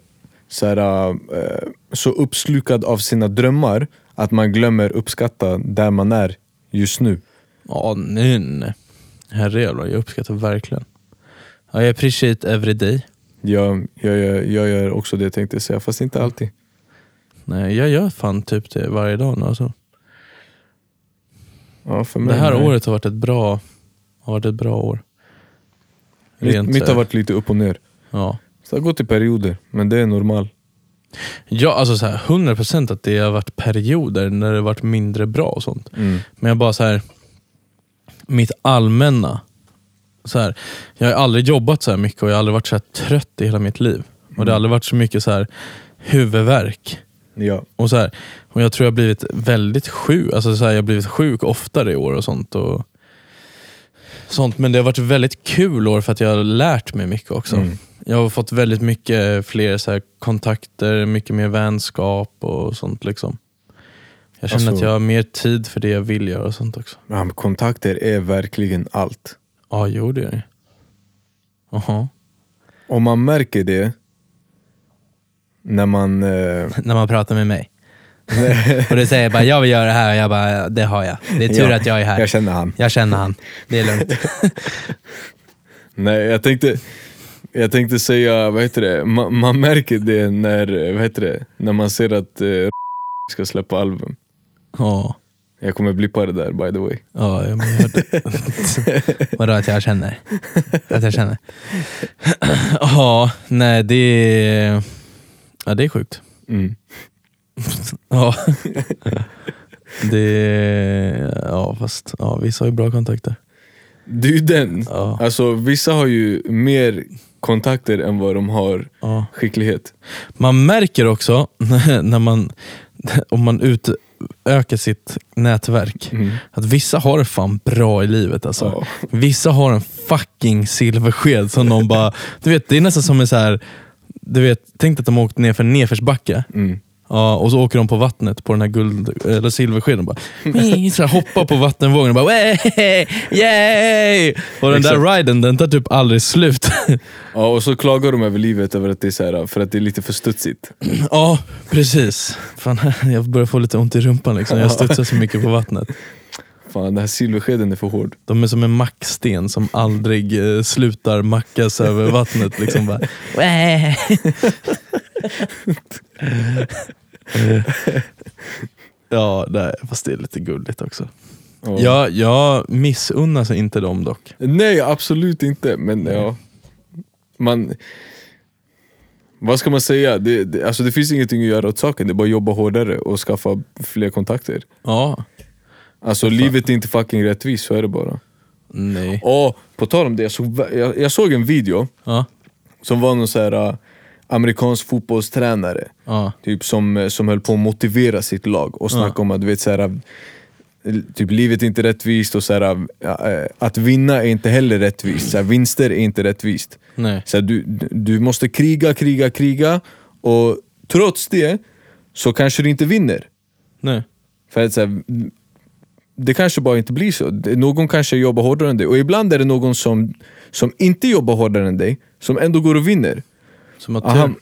Speaker 4: så, här, eh, så uppslukad av sina drömmar att man glömmer uppskatta där man är just nu.
Speaker 3: Ja, nej, nej. Herrejävlar, jag uppskattar verkligen. Ja, jag appreciate every day.
Speaker 4: Jag, jag, jag, jag gör också det tänkte jag säga, fast inte alltid.
Speaker 3: Nej, jag gör fan typ det varje dag nu. Alltså.
Speaker 4: Ja, för
Speaker 3: Det
Speaker 4: mig,
Speaker 3: här
Speaker 4: nej.
Speaker 3: året har varit ett bra, har varit ett bra år.
Speaker 4: mitt,
Speaker 3: Rent,
Speaker 4: mitt har
Speaker 3: eh,
Speaker 4: varit lite upp och ner.
Speaker 3: Ja,
Speaker 4: Så det har gått i perioder, men det är normalt.
Speaker 3: ja alltså så här, 100% att det har varit perioder när det har varit mindre bra och sånt. Men jag bara så här, mitt allmänna. Så här, jag har aldrig jobbat så här mycket och jag har aldrig varit så här trött i hela mitt liv. Och det
Speaker 4: Mm.
Speaker 3: har aldrig varit så mycket så här huvudvärk.
Speaker 4: Ja.
Speaker 3: Och, så här, och jag tror jag har blivit väldigt sjuk. Alltså så här, jag har blivit sjuk oftare i år och sånt. Och sånt. Men det har varit väldigt kul år för att jag har lärt mig mycket också.
Speaker 4: Mm.
Speaker 3: Jag har fått väldigt mycket fler så här, kontakter, mycket mer vänskap och sånt. liksom Jag känner
Speaker 4: Alltså-
Speaker 3: att jag har mer tid för det jag vill göra och sånt också.
Speaker 4: Ja, men kontakter är verkligen allt.
Speaker 3: Ja, jo det är det. Jaha.
Speaker 4: Om man märker det när man... Eh,
Speaker 3: När man pratar med
Speaker 4: <laughs>
Speaker 3: mig. och du säger bara, jag vill göra det här och jag bara, det har jag. Det är tur
Speaker 4: ja,
Speaker 3: att jag är här.
Speaker 4: Jag känner han.
Speaker 3: Jag känner han. Det är lugnt.
Speaker 4: Nej, jag tänkte, jag tänkte säga, vad heter det? Man, man märker det när, eh, vad heter det? När man ser att eh, <laughs> ska släppa album.
Speaker 3: Ja,
Speaker 4: Jag kommer blippa det där by the way.
Speaker 3: ja jag men jag hörde. Vadå att jag känner? Att jag känner? <clears throat> Ja, nej det är... Ja, det är sjukt.
Speaker 4: Mm.
Speaker 3: Ja. Det är... Ja, fast ja, vissa har ju bra kontakter.
Speaker 4: Det är ju den.
Speaker 3: Ja.
Speaker 4: Alltså vissa har ju mer kontakter än vad de har
Speaker 3: Ja.
Speaker 4: skicklighet.
Speaker 3: Man märker också <laughs> när man, om man utökar sitt nätverk,
Speaker 4: Mm.
Speaker 3: att vissa har det fan bra i livet. Alltså.
Speaker 4: Ja.
Speaker 3: Vissa har en fucking silversked som de bara... Du vet, det är nästan som en så här, du vet, tänk dig att de åkt ner för en nedförsbacke.
Speaker 4: Mm.
Speaker 3: Ja, och så åker de på vattnet på den här guld, eller silverskeden och bara så här, hoppar på vattenvågen och bara "Wey, yay! Och den där
Speaker 4: Exakt.
Speaker 3: riden den tar typ aldrig slut.
Speaker 4: Ja, och så klagar de över livet över att det är så här, för att det är lite för studsigt.
Speaker 3: Ja, precis. Fan, jag börjar få lite ont i rumpan. Liksom. Jag studsar så mycket på vattnet.
Speaker 4: Fan, den här silverskeden är för hård.
Speaker 3: De är som en macksten som aldrig eh, slutar mackas över vattnet. Liksom bara, "Wä." <laughs> ja, nej, fast det är lite gulligt också.
Speaker 4: Ja.
Speaker 3: Jag, jag missunnar sig inte dem dock.
Speaker 4: Nej, absolut inte. Men ja, man... Vad ska man säga? Det, det, alltså det finns ingenting att göra åt saken, det är bara att jobba hårdare och skaffa fler kontakter.
Speaker 3: Ja,
Speaker 4: Alltså livet är inte fucking rättvist, så är det bara.
Speaker 3: nej.
Speaker 4: Och på tal om det, jag såg, jag, jag såg en video
Speaker 3: Ja,
Speaker 4: som var någon så här äh, amerikansk fotbollstränare
Speaker 3: ja,
Speaker 4: typ, som, eh, som höll på att motivera sitt lag och snacka
Speaker 3: Ja.
Speaker 4: om att du vet, så här, eh, typ, livet är inte rättvist och så här, eh, att vinna är inte heller rättvist. Så här, vinster är inte rättvist.
Speaker 3: nej.
Speaker 4: Så här, du, du- du måste kriga, kriga, kriga och trots det så kanske du inte vinner.
Speaker 3: nej.
Speaker 4: För att så här, det kanske bara inte blir så. Det- Någon kanske jobbar hårdare än dig och ibland är det någon som, som inte jobbar hårdare än dig som ändå går och vinner.
Speaker 3: Som att
Speaker 4: Och han,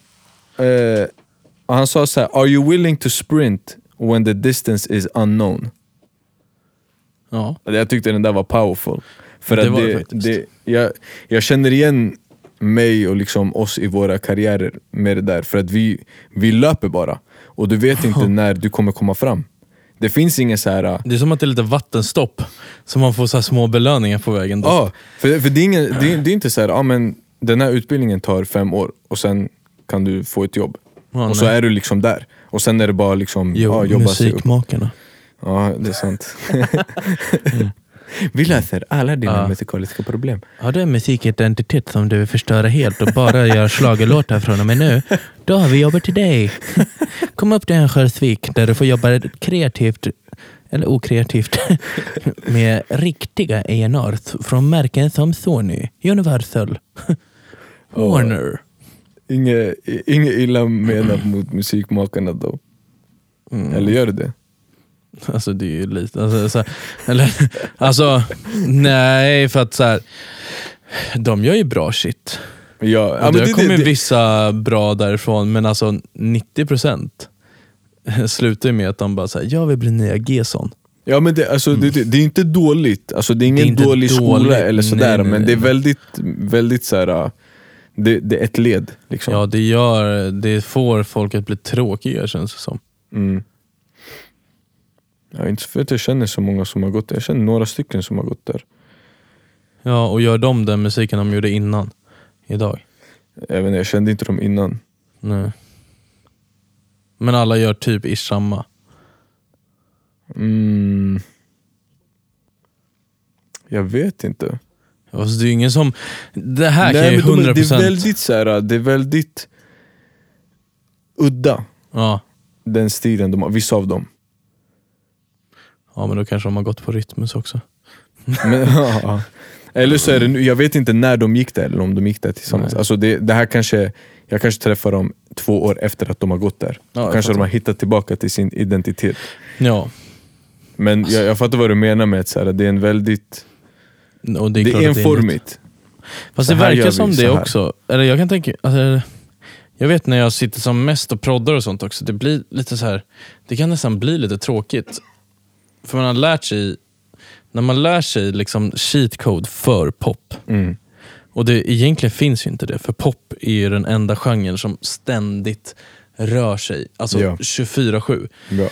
Speaker 4: eh, och han sa så här: Are you willing to sprint when the distance is unknown?
Speaker 3: Ja,
Speaker 4: Jag tyckte den där var powerful. För
Speaker 3: Det
Speaker 4: att
Speaker 3: var det
Speaker 4: det,
Speaker 3: faktiskt.
Speaker 4: det, jag, jag känner igen mig och liksom oss i våra karriärer med det där. För att vi, vi löper bara. Och du vet inte när du kommer komma fram. Det finns ingen så här... ah,
Speaker 3: det är som att det är lite vattenstopp. Så man får så här små belöningar på vägen. dit.
Speaker 4: Ja, ah, för, för det, är ingen, det, är, det är inte så här, ah, men den här utbildningen tar fem år och sen kan du få ett jobb.
Speaker 3: Ja,
Speaker 4: och så
Speaker 3: nej.
Speaker 4: är du liksom där. Och sen är det bara liksom,
Speaker 3: Jo,
Speaker 4: ja, jobba sig upp.
Speaker 3: musikmakarna.
Speaker 4: Ja, det är sant. <laughs> Vi löser alla dina
Speaker 3: Mm. Ja.
Speaker 4: musikaliska problem.
Speaker 3: Har du en musikidentitet som du vill förstöra helt och bara göra schlagerlåtar från och med nu? Då har vi jobbet till dig. Kom upp till Örnsköldsvik där du får jobba kreativt, eller okreativt, med riktiga A&Rs från märken som Sony, Universal, Warner.
Speaker 4: Inget, inget illa
Speaker 3: Mm.
Speaker 4: menat mot musikmakarna då. Eller gör du det?
Speaker 3: Alltså det är ju lite, alltså, så här, eller, alltså nej för att så här, de gör ju bra shit.
Speaker 4: Ja,
Speaker 3: Ja,
Speaker 4: ja,
Speaker 3: det
Speaker 4: men
Speaker 3: har
Speaker 4: det,
Speaker 3: kommit
Speaker 4: det, det,
Speaker 3: vissa bra därifrån, men alltså 90% <laughs> slutar ju med att de bara säger jag vill bli nya Gesson.
Speaker 4: ja, men det, alltså, det, det, det är inte dåligt, alltså, det är ingen
Speaker 3: inte
Speaker 4: dålig skola
Speaker 3: dåligt.
Speaker 4: eller
Speaker 3: Nej,
Speaker 4: sådär,
Speaker 3: nej,
Speaker 4: men det är
Speaker 3: nej.
Speaker 4: väldigt, väldigt så här, äh, det, det är ett led. Liksom.
Speaker 3: Ja, det, gör, det får folk att bli tråkiga känns det som.
Speaker 4: Mm. Ja, inte för att jag känner så många som har gått där, jag känner några stycken som har gått där.
Speaker 3: Ja, och gör de den musiken de gjorde innan, idag.
Speaker 4: Även jag kände inte dem innan.
Speaker 3: Nej. Men alla gör typ ish samma.
Speaker 4: Mm. Jag vet inte.
Speaker 3: Alltså, det är ju ingen som... Det här kan
Speaker 4: Nej,
Speaker 3: ju
Speaker 4: men
Speaker 3: 100%...
Speaker 4: de- det är väldigt så här, det är väldigt udda,
Speaker 3: ja.
Speaker 4: den stilen de har, vissa av dem.
Speaker 3: ja, men då kanske de har gått på Rytmus också. <laughs>
Speaker 4: Men, <laughs> ja. Eller så är det nu, jag vet inte när de gick där eller om de gick där tillsammans.
Speaker 3: Nej.
Speaker 4: Alltså det, det här kanske, jag kanske träffar dem två år efter att de har gått där.
Speaker 3: Ja, jag
Speaker 4: kanske de
Speaker 3: fattar.
Speaker 4: har hittat tillbaka till sin identitet.
Speaker 3: Ja,
Speaker 4: Men
Speaker 3: Alltså-
Speaker 4: jag, jag fattar vad du menar med att så här, det är en väldigt...
Speaker 3: och det är,
Speaker 4: Det
Speaker 3: klart
Speaker 4: är
Speaker 3: att det är nytt.
Speaker 4: enformigt.
Speaker 3: Fast
Speaker 4: Så
Speaker 3: det
Speaker 4: här gör
Speaker 3: verkar
Speaker 4: vi,
Speaker 3: som
Speaker 4: så
Speaker 3: det
Speaker 4: här.
Speaker 3: också. Eller jag kan tänka, alltså, eller- jag vet när jag sitter som mest och proddar och sånt också, det blir lite så här, det kan nästan bli lite tråkigt. För man har lärt sig, när man lär sig liksom cheat code för pop,
Speaker 4: Mm.
Speaker 3: och det egentligen finns ju inte det, för pop är ju den enda genren som ständigt rör sig, alltså
Speaker 4: Ja.
Speaker 3: 24-7.
Speaker 4: Ja.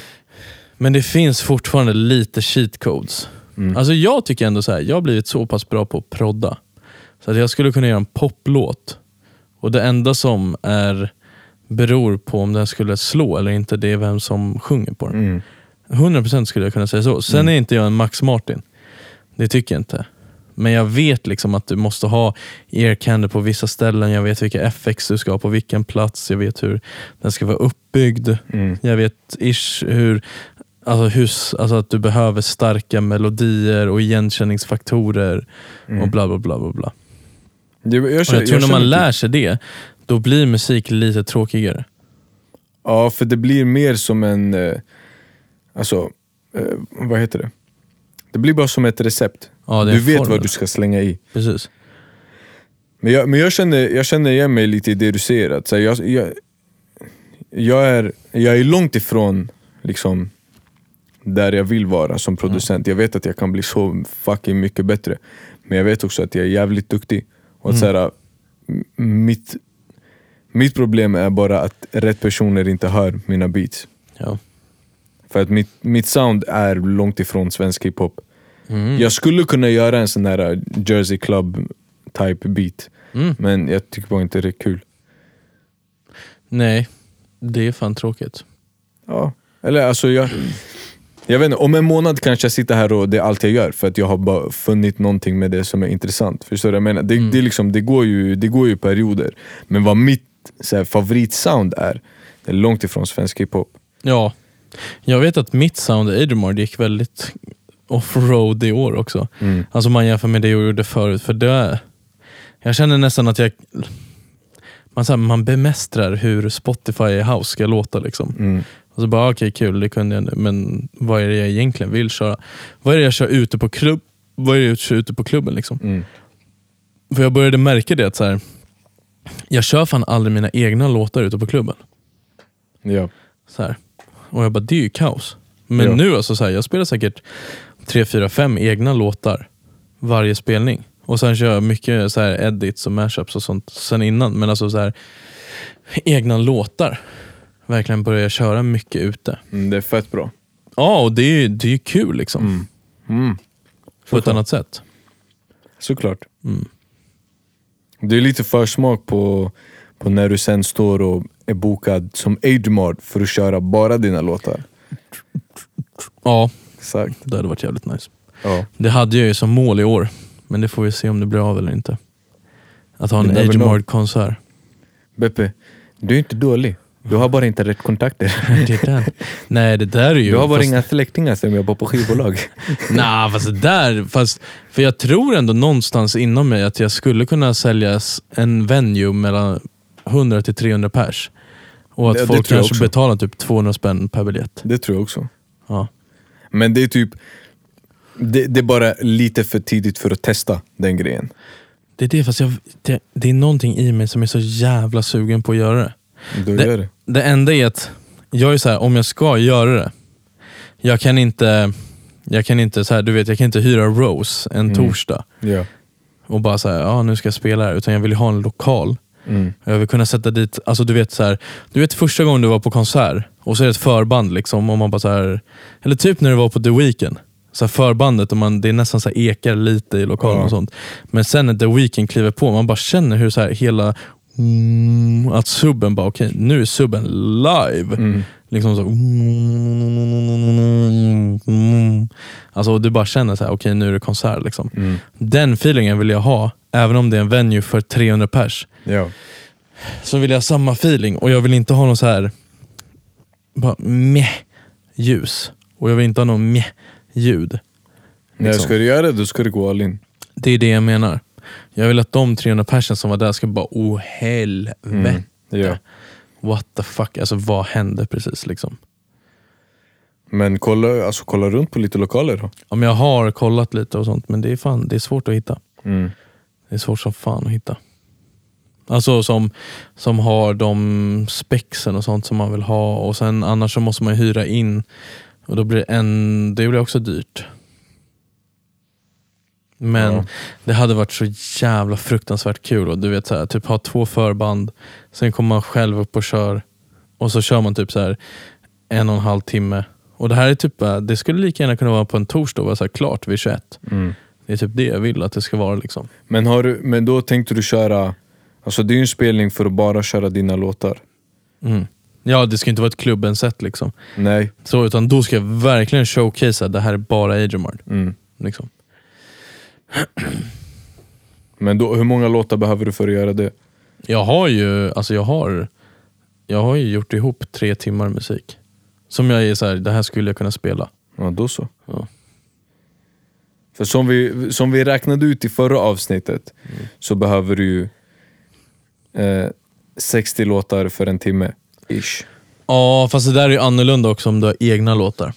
Speaker 3: Men det finns fortfarande lite cheat codes. Alltså jag tycker ändå så här, jag har blivit så pass bra på att prodda. Så att jag skulle kunna göra en poplåt. Och det enda som är beror på om den skulle slå eller inte, det är vem som sjunger på den.
Speaker 4: Mm.
Speaker 3: 100% skulle jag kunna säga så. Sen är inte jag en Max Martin. Det tycker jag inte. Men jag vet liksom att du måste ha earcanner på vissa ställen, jag vet vilka FX du ska ha på vilken plats, jag vet hur den ska vara uppbyggd.
Speaker 4: Mm.
Speaker 3: Jag vet ish hur, alltså hus, alltså att du behöver starka melodier och igenkänningsfaktorer och bla bla bla. bla, bla.
Speaker 4: Det- Jag,
Speaker 3: Och jag tror när
Speaker 4: känner
Speaker 3: man
Speaker 4: typ-
Speaker 3: lär sig det, då blir musik lite tråkigare.
Speaker 4: Ja, för det blir mer som en... eh, Alltså, eh, vad heter det? Det blir bara som ett recept.
Speaker 3: Ja, det är
Speaker 4: du
Speaker 3: en
Speaker 4: vet
Speaker 3: formel.
Speaker 4: vad du ska slänga i.
Speaker 3: Precis.
Speaker 4: Men jag, men jag, känner, jag känner igen mig lite i det du säger. Att, så här, jag, jag, jag, är, jag är långt ifrån liksom, där jag vill vara
Speaker 3: Mm.
Speaker 4: som producent. Jag vet att jag kan bli så fucking mycket bättre. Men jag vet också att jag är jävligt duktig. Och
Speaker 3: Mm.
Speaker 4: att, så här, m- mitt, mitt problem är bara att rätt personer inte hör mina beats.
Speaker 3: Ja.
Speaker 4: För att mitt, mitt sound är långt ifrån svensk hiphop.
Speaker 3: Mm.
Speaker 4: Jag skulle kunna göra en sån här Jersey Club type beat,
Speaker 3: Mm.
Speaker 4: men jag tycker bara inte det är kul.
Speaker 3: Nej, det är fan tråkigt.
Speaker 4: Ja. Eller alltså, jag, jag vet inte, om en månad kanske jag sitter här och det är allt jag gör för att jag har bara funnit någonting med det som är intressant. Förstår du vad jag menar? Det, det, är liksom, det, går ju, det går ju perioder, men vad mitt så här, favoritsound är, det är långt ifrån svensk hiphop.
Speaker 3: Ja, jag vet att mitt sound i Ademar gick väldigt offroad i år också.
Speaker 4: Mm.
Speaker 3: Alltså om man jämför med det jag gjorde förut. För det, jag känner nästan att jag man, så här, man bemästrar hur Spotify House ska låta. Liksom.
Speaker 4: Mm.
Speaker 3: Och så bara, okej kul, det kunde jag nu, men vad är det jag egentligen vill köra? Vad är det jag kör ute på, klubb, vad är det jag kör ute på klubben? Liksom?
Speaker 4: Mm.
Speaker 3: För jag började märka det, att så här, jag kör fan aldrig mina egna låtar ute på klubben.
Speaker 4: Ja.
Speaker 3: Så här. Och jag bara, det är ju kaos. Men
Speaker 4: Ja.
Speaker 3: nu, alltså, så här, jag spelar säkert tre fyra fem egna låtar varje spelning. Och sen kör jag mycket så här, edits och mashups och sånt sen innan. Men alltså så här, egna låtar. Verkligen börjar jag köra mycket ute.
Speaker 4: Mm, det är fett bra.
Speaker 3: Ja, och det är ju det är ju kul liksom.
Speaker 4: Mm.
Speaker 3: På ett annat sätt.
Speaker 4: Såklart.
Speaker 3: Mm.
Speaker 4: Det är lite försmak på, på när du sen står och är bokad som aidmart för att köra bara dina låtar.
Speaker 3: Ja,
Speaker 4: Exakt.
Speaker 3: det hade varit jävligt nice.
Speaker 4: Ja.
Speaker 3: Det hade jag ju som mål i år, men det får vi se om det blir av eller inte. Att ha
Speaker 4: You
Speaker 3: en
Speaker 4: never know.
Speaker 3: Agemard-konsert.
Speaker 4: Beppe, du är inte dålig. Du har bara inte rätt <laughs> kontakter.
Speaker 3: Det där. <laughs> Nej, det där är ju...
Speaker 4: Du har bara
Speaker 3: fast-
Speaker 4: inga släktingar som jobbar på skivbolag.
Speaker 3: Nej, fast det där... Fast, för jag tror ändå någonstans inom mig att jag skulle kunna säljas en venue mellan 100 till 300 pers. Och att
Speaker 4: Det- det
Speaker 3: folk
Speaker 4: tror jag
Speaker 3: kanske
Speaker 4: också.
Speaker 3: betalar typ 200 spänn per biljett.
Speaker 4: <laughs> Det tror jag också.
Speaker 3: Ja.
Speaker 4: Men det är typ... Det, det är bara lite för tidigt för att testa den grejen.
Speaker 3: Det är det, fast jag, det, det är någonting i mig som är så jävla sugen på att göra det.
Speaker 4: Då
Speaker 3: Det-
Speaker 4: gör det.
Speaker 3: Det enda är att jag är så här, om jag ska göra det, jag kan inte, jag kan inte, så här, du vet, jag kan inte hyra Rose
Speaker 4: Mm.
Speaker 3: en torsdag
Speaker 4: Ja.
Speaker 3: och bara säga ja nu ska jag spela här, utan jag vill ju ha en lokal.
Speaker 4: Mm.
Speaker 3: Jag vill kunna sätta dit, alltså du vet så här, du vet första gången du var på konsert och så är det ett förband liksom, och man bara så här, eller typ när du var på The Weeknd. Så här förbandet, och man, det är nästan så här ekar lite i lokalen
Speaker 4: Ja.
Speaker 3: och sånt. Men sen när The Weeknd kliver på, man bara känner hur så här hela, mm, att subben bara okej, nu är subben live. Liksom så, mm, alltså och du bara känner så här, okej nu är det konsert. Liksom. Den feelingen vill jag ha, även om det är en venue för 300 pers
Speaker 4: Ja.
Speaker 3: så vill jag ha samma feeling och jag vill inte ha någon så här bara meh ljus och jag vill inte ha någon meh ljud.
Speaker 4: Nej,
Speaker 3: Liksom.
Speaker 4: ska du göra det, då ska du gå all in.
Speaker 3: Det är det jag menar. Jag vill att de 300 personer som var där ska bara oh helvete.
Speaker 4: Ja.
Speaker 3: What the fuck, alltså vad hände precis liksom?
Speaker 4: Men kolla, alltså, kolla runt på lite lokaler då.
Speaker 3: Om jag har kollat lite och sånt men det är fan det är svårt att hitta.
Speaker 4: Mm.
Speaker 3: Det är svårt som fan att hitta. Alltså som, som har de spexen och sånt som man vill ha och sen annars så måste man ju hyra in och då blir det en, det blir också dyrt. Men
Speaker 4: Ja.
Speaker 3: det hade varit så jävla fruktansvärt kul och du vet så här, typ ha två förband, sen kommer man själv upp och kör och så kör man typ så här en och en halv timme. Och det här är typ, eh, det skulle lika gärna kunna vara på en torsdag och vara så här klart vid 21. Det är typ det jag vill att det ska vara liksom.
Speaker 4: Men, har du, men då tänkte du köra... Alltså det är ju en spelning för att bara köra dina låtar.
Speaker 3: Mm. Ja, det ska inte vara ett klubben-sätt liksom.
Speaker 4: Nej.
Speaker 3: Så, utan då ska jag verkligen showcasea att det här är bara Agemard.
Speaker 4: Mm.
Speaker 3: Liksom.
Speaker 4: Men då, hur många låtar behöver du för att göra det?
Speaker 3: Jag har ju alltså jag har, jag har ju gjort ihop tre timmar musik. Som jag är så här, det här skulle jag kunna spela.
Speaker 4: Ja, då så.
Speaker 3: Ja.
Speaker 4: För som vi, som vi räknade ut i förra avsnittet så behöver du ju eh, 60 låtar för en timme. Ish.
Speaker 3: Ja, fast det där är ju annorlunda också om du har egna låtar.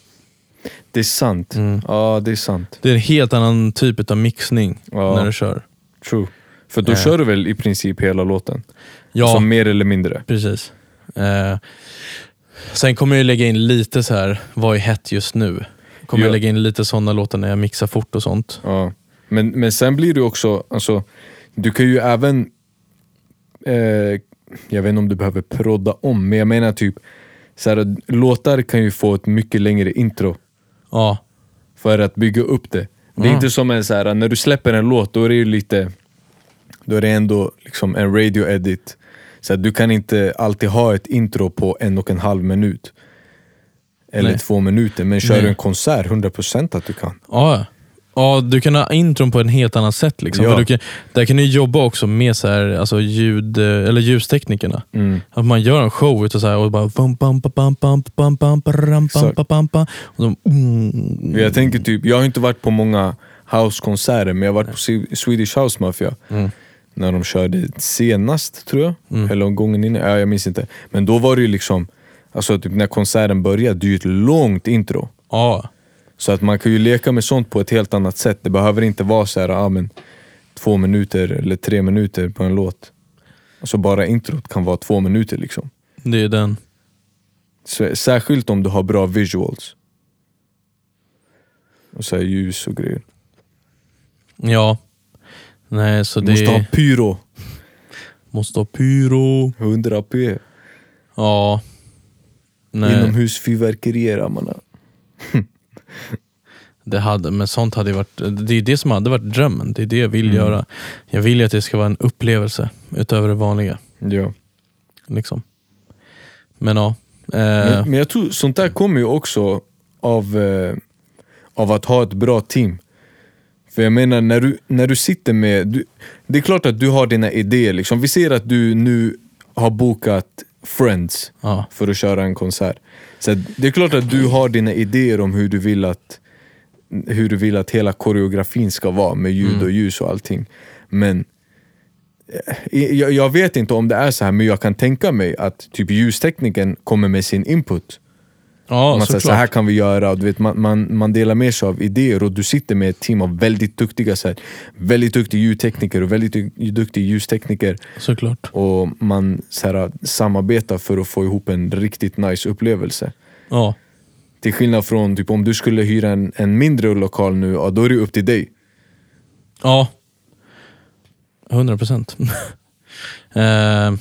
Speaker 4: Det är sant. Ja, det är sant.
Speaker 3: Det är en helt annan typ av mixning
Speaker 4: Ja.
Speaker 3: när du kör.
Speaker 4: True. För då kör du väl i princip hela låten?
Speaker 3: Ja,
Speaker 4: Som mer eller mindre?
Speaker 3: precis. Eh, sen kommer jag ju lägga in lite så här, vad är hett just nu? Kommer
Speaker 4: Ja.
Speaker 3: jag lägga in lite sådana låtar när jag mixar fort och sånt.
Speaker 4: Ja. Men, men sen blir det också, alltså, du kan ju även, eh, jag vet inte om du behöver prodda om, men jag menar typ, så här, låtar kan ju få ett mycket längre intro
Speaker 3: Ja,
Speaker 4: för att bygga upp det. Det är
Speaker 3: Mm.
Speaker 4: inte som en så här, när du släpper en låt, då är det ju lite, då är det ändå liksom en radio edit. Så att du kan inte alltid ha ett intro på en och en halv minut. Eller
Speaker 3: Nej.
Speaker 4: två minuter, men kör
Speaker 3: Nej.
Speaker 4: du en konsert, 100% att du kan.
Speaker 3: Ja, ja. ja du kan ha intron på en helt annat sätt. Liksom.
Speaker 4: Ja.
Speaker 3: För du kan, där kan du jobba också med så här, alltså ljud, eller ljusteknikerna.
Speaker 4: Mm.
Speaker 3: Att man gör en show ut och, så här, och bara... bum, bum, bum, bum, bum, bum, bum, bum, bum, bum, bum, bum. Och de, mm,
Speaker 4: Jag tänker typ, jag har inte varit på många housekonserter men jag har varit på Se- Swedish House Mafia När de körde senast tror jag, eller gången innan, ja, jag minns inte Men då var det ju liksom, alltså typ när konserten började, det är ju ett långt intro
Speaker 3: ja.
Speaker 4: Så att man kan ju leka med sånt på ett helt annat sätt, det behöver inte vara så här, ah, men två minuter eller tre minuter på en låt Alltså bara introt kan vara två minuter liksom
Speaker 3: Det är den.
Speaker 4: Så- Särskilt om du har bra visuals Och så här ljus och grejer
Speaker 3: Ja. Nej, så
Speaker 4: Du
Speaker 3: det
Speaker 4: måste ha pyro.
Speaker 3: måste ha pyro.
Speaker 4: 100 p.
Speaker 3: Ja. Nej,
Speaker 4: Inomhusfyrverkerier mannen.
Speaker 3: det hade, men sånt hade ju varit, det är det som hade varit drömmen. Det är det jag
Speaker 4: Mm.
Speaker 3: vill göra. Jag vill ju att det ska vara en upplevelse utöver det vanliga.
Speaker 4: Ja.
Speaker 3: Liksom. Men ja. Eh,
Speaker 4: Men, men jag tror sånt där kommer ju också av, eh, av att ha ett bra team. För jag menar, när du, när du sitter med... Du, det är klart att du har dina idéer. Liksom. Vi ser att du nu har bokat Friends
Speaker 3: Ja.
Speaker 4: för att köra en konsert. Så att det är klart att du har dina idéer om hur du vill att, hur du vill att hela koreografin ska vara med ljud och ljus och allting. Men i- jag, jag vet inte om det är så här, men jag kan tänka mig att typ ljustekniken kommer med sin input.
Speaker 3: ja,
Speaker 4: man säger så här
Speaker 3: såklart.
Speaker 4: kan vi göra, och du vet, man, man, man delar med sig av idéer och du sitter med ett team av väldigt duktiga, så här, väldigt duktig ljudtekniker och väldigt du- duktig ljustekniker
Speaker 3: såklart.
Speaker 4: och man så här, samarbetar för att få ihop en riktigt nice upplevelse.
Speaker 3: Ja.
Speaker 4: Till skillnad från typ, om du skulle hyra en, en mindre lokal nu, ja, då är det upp till dig.
Speaker 3: Ja. 100 procent. <laughs> eh,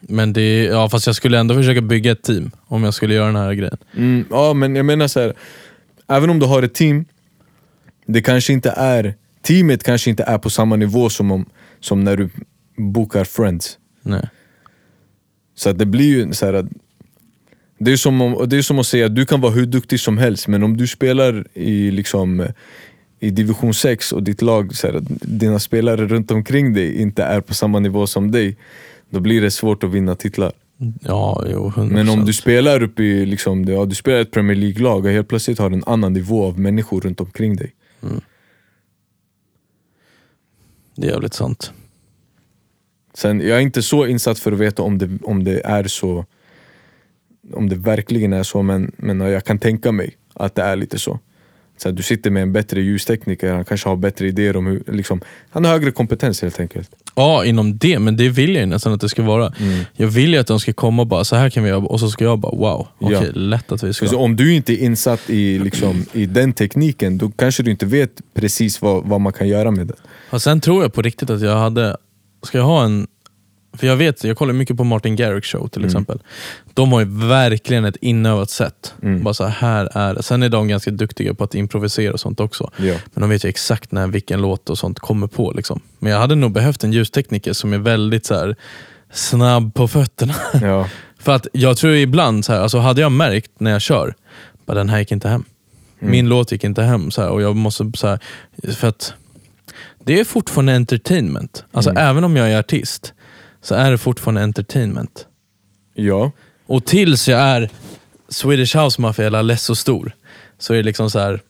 Speaker 3: men det, ja, fast jag skulle ändå försöka bygga ett team om jag skulle göra den här grejen.
Speaker 4: Mm, ja, men jag menar så här. Även om du har ett team, det kanske inte är... Teamet kanske inte är på samma nivå som, om, som när du bokar friends.
Speaker 3: Nej.
Speaker 4: Så att det blir ju så här att... Det är, som om, det är som att säga att du kan vara hur duktig som helst, men om du spelar i liksom i division 6 och ditt lag, så här, att dina spelare runt omkring dig inte är på samma nivå som dig, då blir det svårt att vinna titlar.
Speaker 3: Ja, jo, 100%.
Speaker 4: Men om du spelar upp i liksom, det- ja, du spelar ett Premier League-lag och helt plötsligt har du en annan nivå av människor runt omkring dig.
Speaker 3: Det är jävligt sant.
Speaker 4: Sen, jag är inte så insatt för att veta om det, om det är så om det verkligen är så, men, men ja, jag kan tänka mig att det är lite så. så här, du sitter med en bättre ljustekniker, han kanske har bättre idéer om hur... Liksom, han har högre kompetens helt enkelt.
Speaker 3: Ja, inom det, men det vill jag ju nästan att det ska vara.
Speaker 4: Mm.
Speaker 3: Jag vill ju att de ska komma och bara, så här kan vi göra, och så ska jag bara, wow, okej,
Speaker 4: Ja.
Speaker 3: lätt att vi
Speaker 4: För
Speaker 3: ska.
Speaker 4: så om du inte är insatt i, liksom, i den tekniken, då kanske du inte vet precis vad, vad man kan göra med det.
Speaker 3: Och sen tror jag på riktigt att jag hade, ska jag ha en, för jag vet, jag kollar mycket på Martin Garrix show till exempel. De har ju verkligen ett inövat sätt. Bara så här, här är det. Sen är de ganska duktiga på att improvisera och sånt också.
Speaker 4: Ja.
Speaker 3: Men de vet ju exakt när vilken låt och sånt kommer på. Liksom. Men jag hade nog behövt en ljustekniker som är väldigt så här, snabb på fötterna.
Speaker 4: Ja.
Speaker 3: För att jag tror ibland, så här, alltså hade jag märkt när jag kör, bara den här gick inte hem. Min låt gick inte hem. Så här, och jag måste, så här, för att det är fortfarande entertainment. Alltså även om jag är artist, så är det fortfarande entertainment.
Speaker 4: ja.
Speaker 3: Och tills jag är Swedish House Mafia eller Alesso Stor, så är det liksom så här.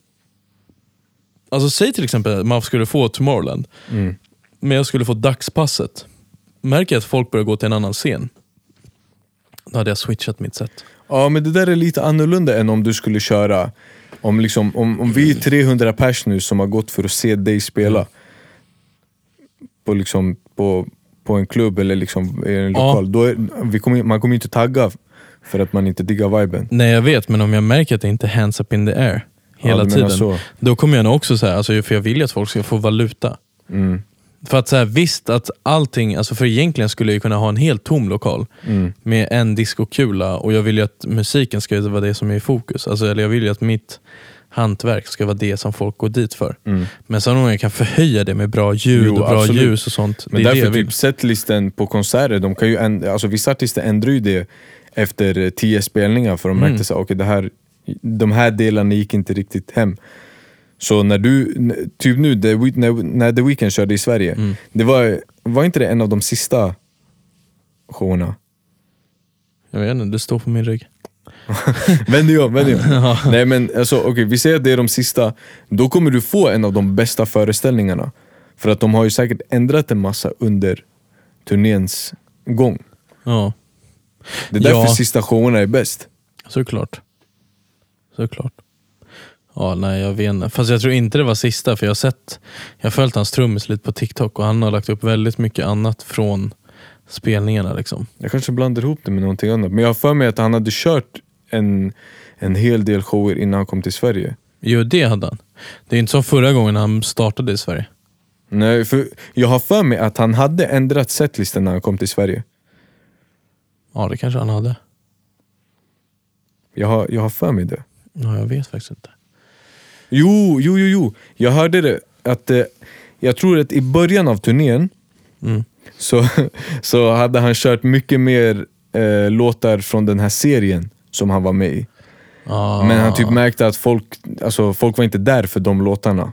Speaker 3: Alltså säg till exempel att man skulle få Tomorrowland, men jag skulle få Dagspasset. Märker jag att folk börjar gå till en annan scen, då hade jag switchat mitt sätt.
Speaker 4: Ja men det där är lite annorlunda än om du skulle köra Om, liksom, om, om vi är 300 pers nu som har gått för att se dig spela På, liksom, på, på en klubb eller liksom, i en
Speaker 3: Ja.
Speaker 4: lokal, då är, vi kommer, man kommer ju inte tagga för att man inte diggar viben
Speaker 3: Nej jag vet, men om jag märker att det inte är hands up in the air hela
Speaker 4: du menar
Speaker 3: tiden,
Speaker 4: så.
Speaker 3: då kommer jag nog också säga, alltså, för jag vill ju att folk ska få valuta.
Speaker 4: Mm.
Speaker 3: För att så här, visst att allting, alltså för egentligen skulle jag ju kunna ha en helt tom lokal
Speaker 4: Mm.
Speaker 3: med en diskokula och jag vill ju att musiken ska vara det som är i fokus. Alltså, eller jag vill ju att mitt hantverk ska vara det som folk går dit för. Men sen om jag kan förhöja det med bra ljud
Speaker 4: Mm. Jo,
Speaker 3: och bra
Speaker 4: absolut.
Speaker 3: ljus och sånt. det
Speaker 4: Men
Speaker 3: är det
Speaker 4: därför
Speaker 3: jag vill.
Speaker 4: typ setlisten på konserter, de kan ju änd- alltså, vissa artister ändrar ju det efter eh, tio spelningar för de
Speaker 3: Mm.
Speaker 4: märkte att okay, det här, de här delarna gick inte riktigt hem. Så när du, n- typ nu The Wee- när, när The Weeknd körde i Sverige,
Speaker 3: Mm.
Speaker 4: det var, var inte det en av de sista showerna? <laughs>
Speaker 3: Jag vet inte, det står på min rygg.
Speaker 4: Vänd dig om,
Speaker 3: <laughs>
Speaker 4: vänd dig om. Nej men alltså okej, vi säger att det är de sista, då kommer du få en av de bästa föreställningarna. För att de har ju säkert ändrat en massa under turnéns gång.
Speaker 3: Ja,
Speaker 4: Det är därför
Speaker 3: Ja.
Speaker 4: sista showerna är bäst.
Speaker 3: såklart. Såklart. Ja, nej jag vet inte. Fast jag tror inte det var sista, för jag har sett, jag har följt hans trummis lite på TikTok och han har lagt upp väldigt mycket annat från spelningarna liksom.
Speaker 4: Jag kanske blandar ihop det med någonting annat. Men jag har för mig att han hade kört en, en hel del shower innan han kom till Sverige.
Speaker 3: Jo, det hade han. Det är inte som förra gången han startade i Sverige.
Speaker 4: Nej, för jag har för mig att han hade ändrat setlisten när han kom till Sverige.
Speaker 3: Ja, det kanske han hade.
Speaker 4: Jag har, jag har för mig det.
Speaker 3: Ja, jag vet faktiskt inte.
Speaker 4: Jo, jo, jo, jo. Jag hörde det. Att, eh, jag tror att i Mm. <laughs> början av turnén så, så hade han kört mycket mer eh, låtar från den här serien som han var med i.
Speaker 3: Ah.
Speaker 4: Men han typ märkte att folk, alltså, folk var inte där för de låtarna.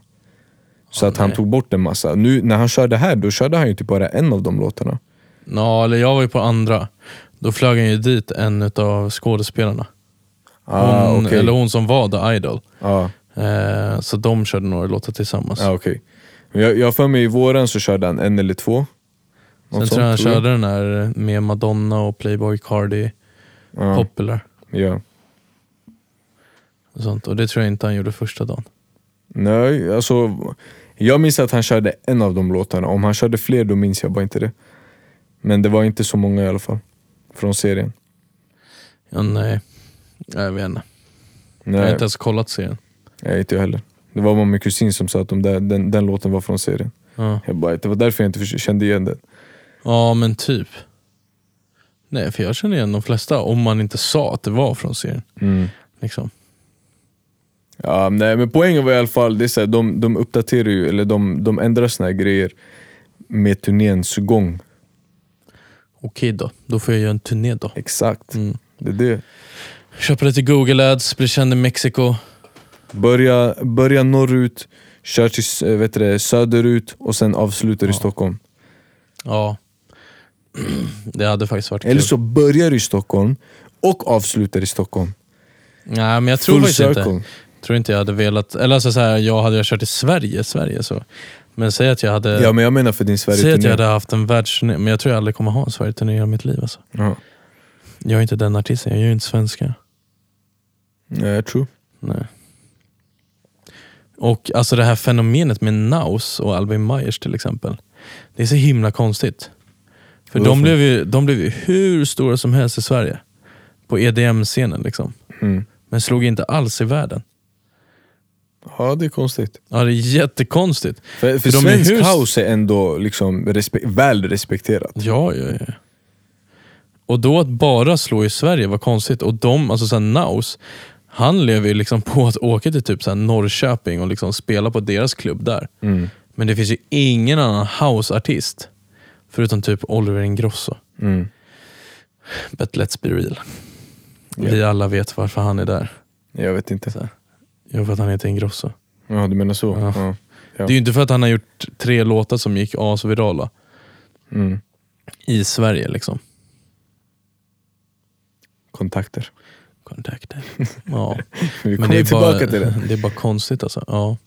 Speaker 4: Så att han
Speaker 3: Ah, nej.
Speaker 4: tog bort en massa. Nu när han körde här, då körde han ju typ bara en av de låtarna.
Speaker 3: Ja, eller jag var ju på andra. Då flög han ju dit en av skådespelarna.
Speaker 4: Ah,
Speaker 3: hon,
Speaker 4: okej.
Speaker 3: Eller hon som var The Idol.
Speaker 4: Ah.
Speaker 3: Eh, så de körde några låtar tillsammans.
Speaker 4: Ja, okej. Men Jag, jag har för mig i våren så körde han en eller två.
Speaker 3: Sen
Speaker 4: Något
Speaker 3: tror jag han
Speaker 4: sånt, tror jag.
Speaker 3: körde den här med Madonna och Playboy Cardi,
Speaker 4: Ja,
Speaker 3: Popular
Speaker 4: ja.
Speaker 3: och sånt. Och det tror jag inte han gjorde första dagen.
Speaker 4: Nej, alltså, jag minns att han körde en av de låtarna. Om han körde fler då minns jag bara inte det. Men det var inte så många i alla fall. Från serien.
Speaker 3: Ja, nej, eh, jag vet inte. Jag har
Speaker 4: Nej,
Speaker 3: inte ens kollat serien.
Speaker 4: jag inte jag heller. Det var bara min kusin som sa att de där, den, den låten var från serien.
Speaker 3: Ja,
Speaker 4: Jag bara, det var därför jag inte förs- kände igen den.
Speaker 3: ja men typ. Nej, för jag känner igen de flesta om man inte sa att det var från serien. Liksom.
Speaker 4: Ja, nej, men poängen var i alla fall, det är så här, de, de uppdaterar ju, eller de, de ändrar såna här grejer med turnéns gång.
Speaker 3: Okej då, då får jag göra en turné då.
Speaker 4: Exakt.
Speaker 3: Mm.
Speaker 4: Det är det.
Speaker 3: Köpa lite Google ads, bli känd i Mexiko.
Speaker 4: Börja, börja norrut, kör till s- eh, vet du, det, söderut och sen avslutar i Stockholm.
Speaker 3: Ja. <clears throat> Det hade faktiskt varit
Speaker 4: Eller
Speaker 3: kul.
Speaker 4: så börjar du i Stockholm och avslutar i Stockholm.
Speaker 3: Nej, men jag tror
Speaker 4: Full
Speaker 3: faktiskt
Speaker 4: circle.
Speaker 3: inte. tror inte jag hade velat... Eller alltså så här, jag hade jag kört i Sverige, Sverige så. Men säg att jag hade...
Speaker 4: Ja men jag menar för din
Speaker 3: Eh, Säg att jag
Speaker 4: Sverige-turné.
Speaker 3: hade haft en världsturné, men jag tror jag aldrig kommer ha en Sverigeturné i hela mitt liv. Alltså.
Speaker 4: Ja.
Speaker 3: Jag är inte den artisten, jag är ju inte svenska.
Speaker 4: Ja, jag tror.
Speaker 3: Nej. Och alltså det här fenomenet med Naus och Albin Myers till exempel. Det är så himla konstigt. För de
Speaker 4: Varför?
Speaker 3: blev, ju, de blev ju hur stora som helst i Sverige. På EDM-scenen liksom.
Speaker 4: Mm.
Speaker 3: Men slog inte alls i världen.
Speaker 4: Ja det är konstigt.
Speaker 3: Ja, det är jättekonstigt.
Speaker 4: För, för,
Speaker 3: För de är
Speaker 4: svensk
Speaker 3: hus-
Speaker 4: house är ändå liksom respe- väl respekterat.
Speaker 3: Ja, ja, ja. Och då att bara slå i Sverige var konstigt. Och de, alltså såhär Naus, han lever ju liksom <laughs> på att åka till typ såhär Norrköping och liksom spela på deras klubb där.
Speaker 4: Mm.
Speaker 3: Men det finns ju ingen annan houseartist förutom typ Oliver Ingrosso.
Speaker 4: Mm.
Speaker 3: But let's be real.
Speaker 4: Ja.
Speaker 3: Vi alla vet varför han är där.
Speaker 4: Jag vet inte.
Speaker 3: Så här. Jo, för att han heter Ingrosso.
Speaker 4: Ja du menar så?
Speaker 3: Ja.
Speaker 4: Ja. Ja.
Speaker 3: Det är ju inte för att han har gjort tre låtar som gick asvirala
Speaker 4: Mm.
Speaker 3: i Sverige. liksom.
Speaker 4: Kontakter. <laughs>
Speaker 3: Kontakter. Ja.
Speaker 4: Vi
Speaker 3: Men
Speaker 4: kommer tillbaka
Speaker 3: bara,
Speaker 4: till det.
Speaker 3: Det är bara konstigt alltså. Ja,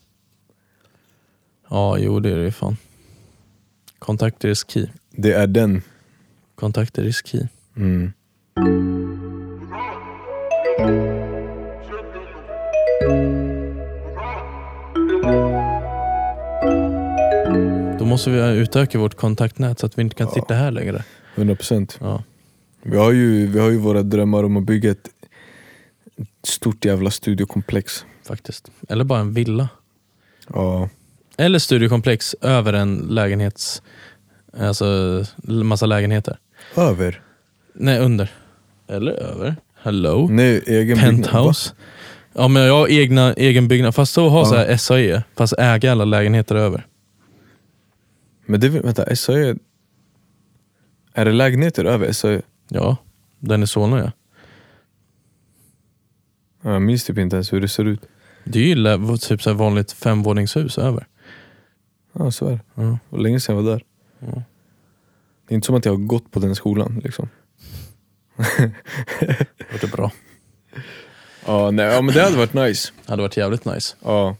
Speaker 3: ja jo det är det ju fan. Kontakter is key.
Speaker 4: Det är den.
Speaker 3: Kontakter is key.
Speaker 4: Mm.
Speaker 3: Då måste vi utöka vårt kontaktnät så att vi inte kan sitta här längre.
Speaker 4: 100%.
Speaker 3: Ja.
Speaker 4: Vi har, ju, vi har ju våra drömmar om att bygga ett ett stort jävla studiokomplex.
Speaker 3: Faktiskt. Eller bara en villa.
Speaker 4: Ja,
Speaker 3: Eller studiekomplex över en lägenhets... Alltså massa lägenheter.
Speaker 4: över.
Speaker 3: Nej, under. Eller över. Hello.
Speaker 4: Nej, egen
Speaker 3: Penthouse. Ja, men jag har egna, egen byggnad. Fast så har så här SAE. Fast äga alla lägenheter över.
Speaker 4: Va? Men det, är väl- vänta, SAE... Är det lägenheter över SAE?
Speaker 3: Ja, den i Solna ja.
Speaker 4: Ja, Jag minns typ inte ens hur det ser ut.
Speaker 3: Det är ju lä- typ så här vanligt femvåningshus över.
Speaker 4: Ja, så är det.
Speaker 3: Ja.
Speaker 4: Det var länge sedan jag var där.
Speaker 3: Ja.
Speaker 4: Det är inte som att jag har gått på den skolan liksom.
Speaker 3: Det är bra.
Speaker 4: Ja, nej, ja men det hade varit nice.
Speaker 3: Det hade varit jävligt nice.
Speaker 4: Ja.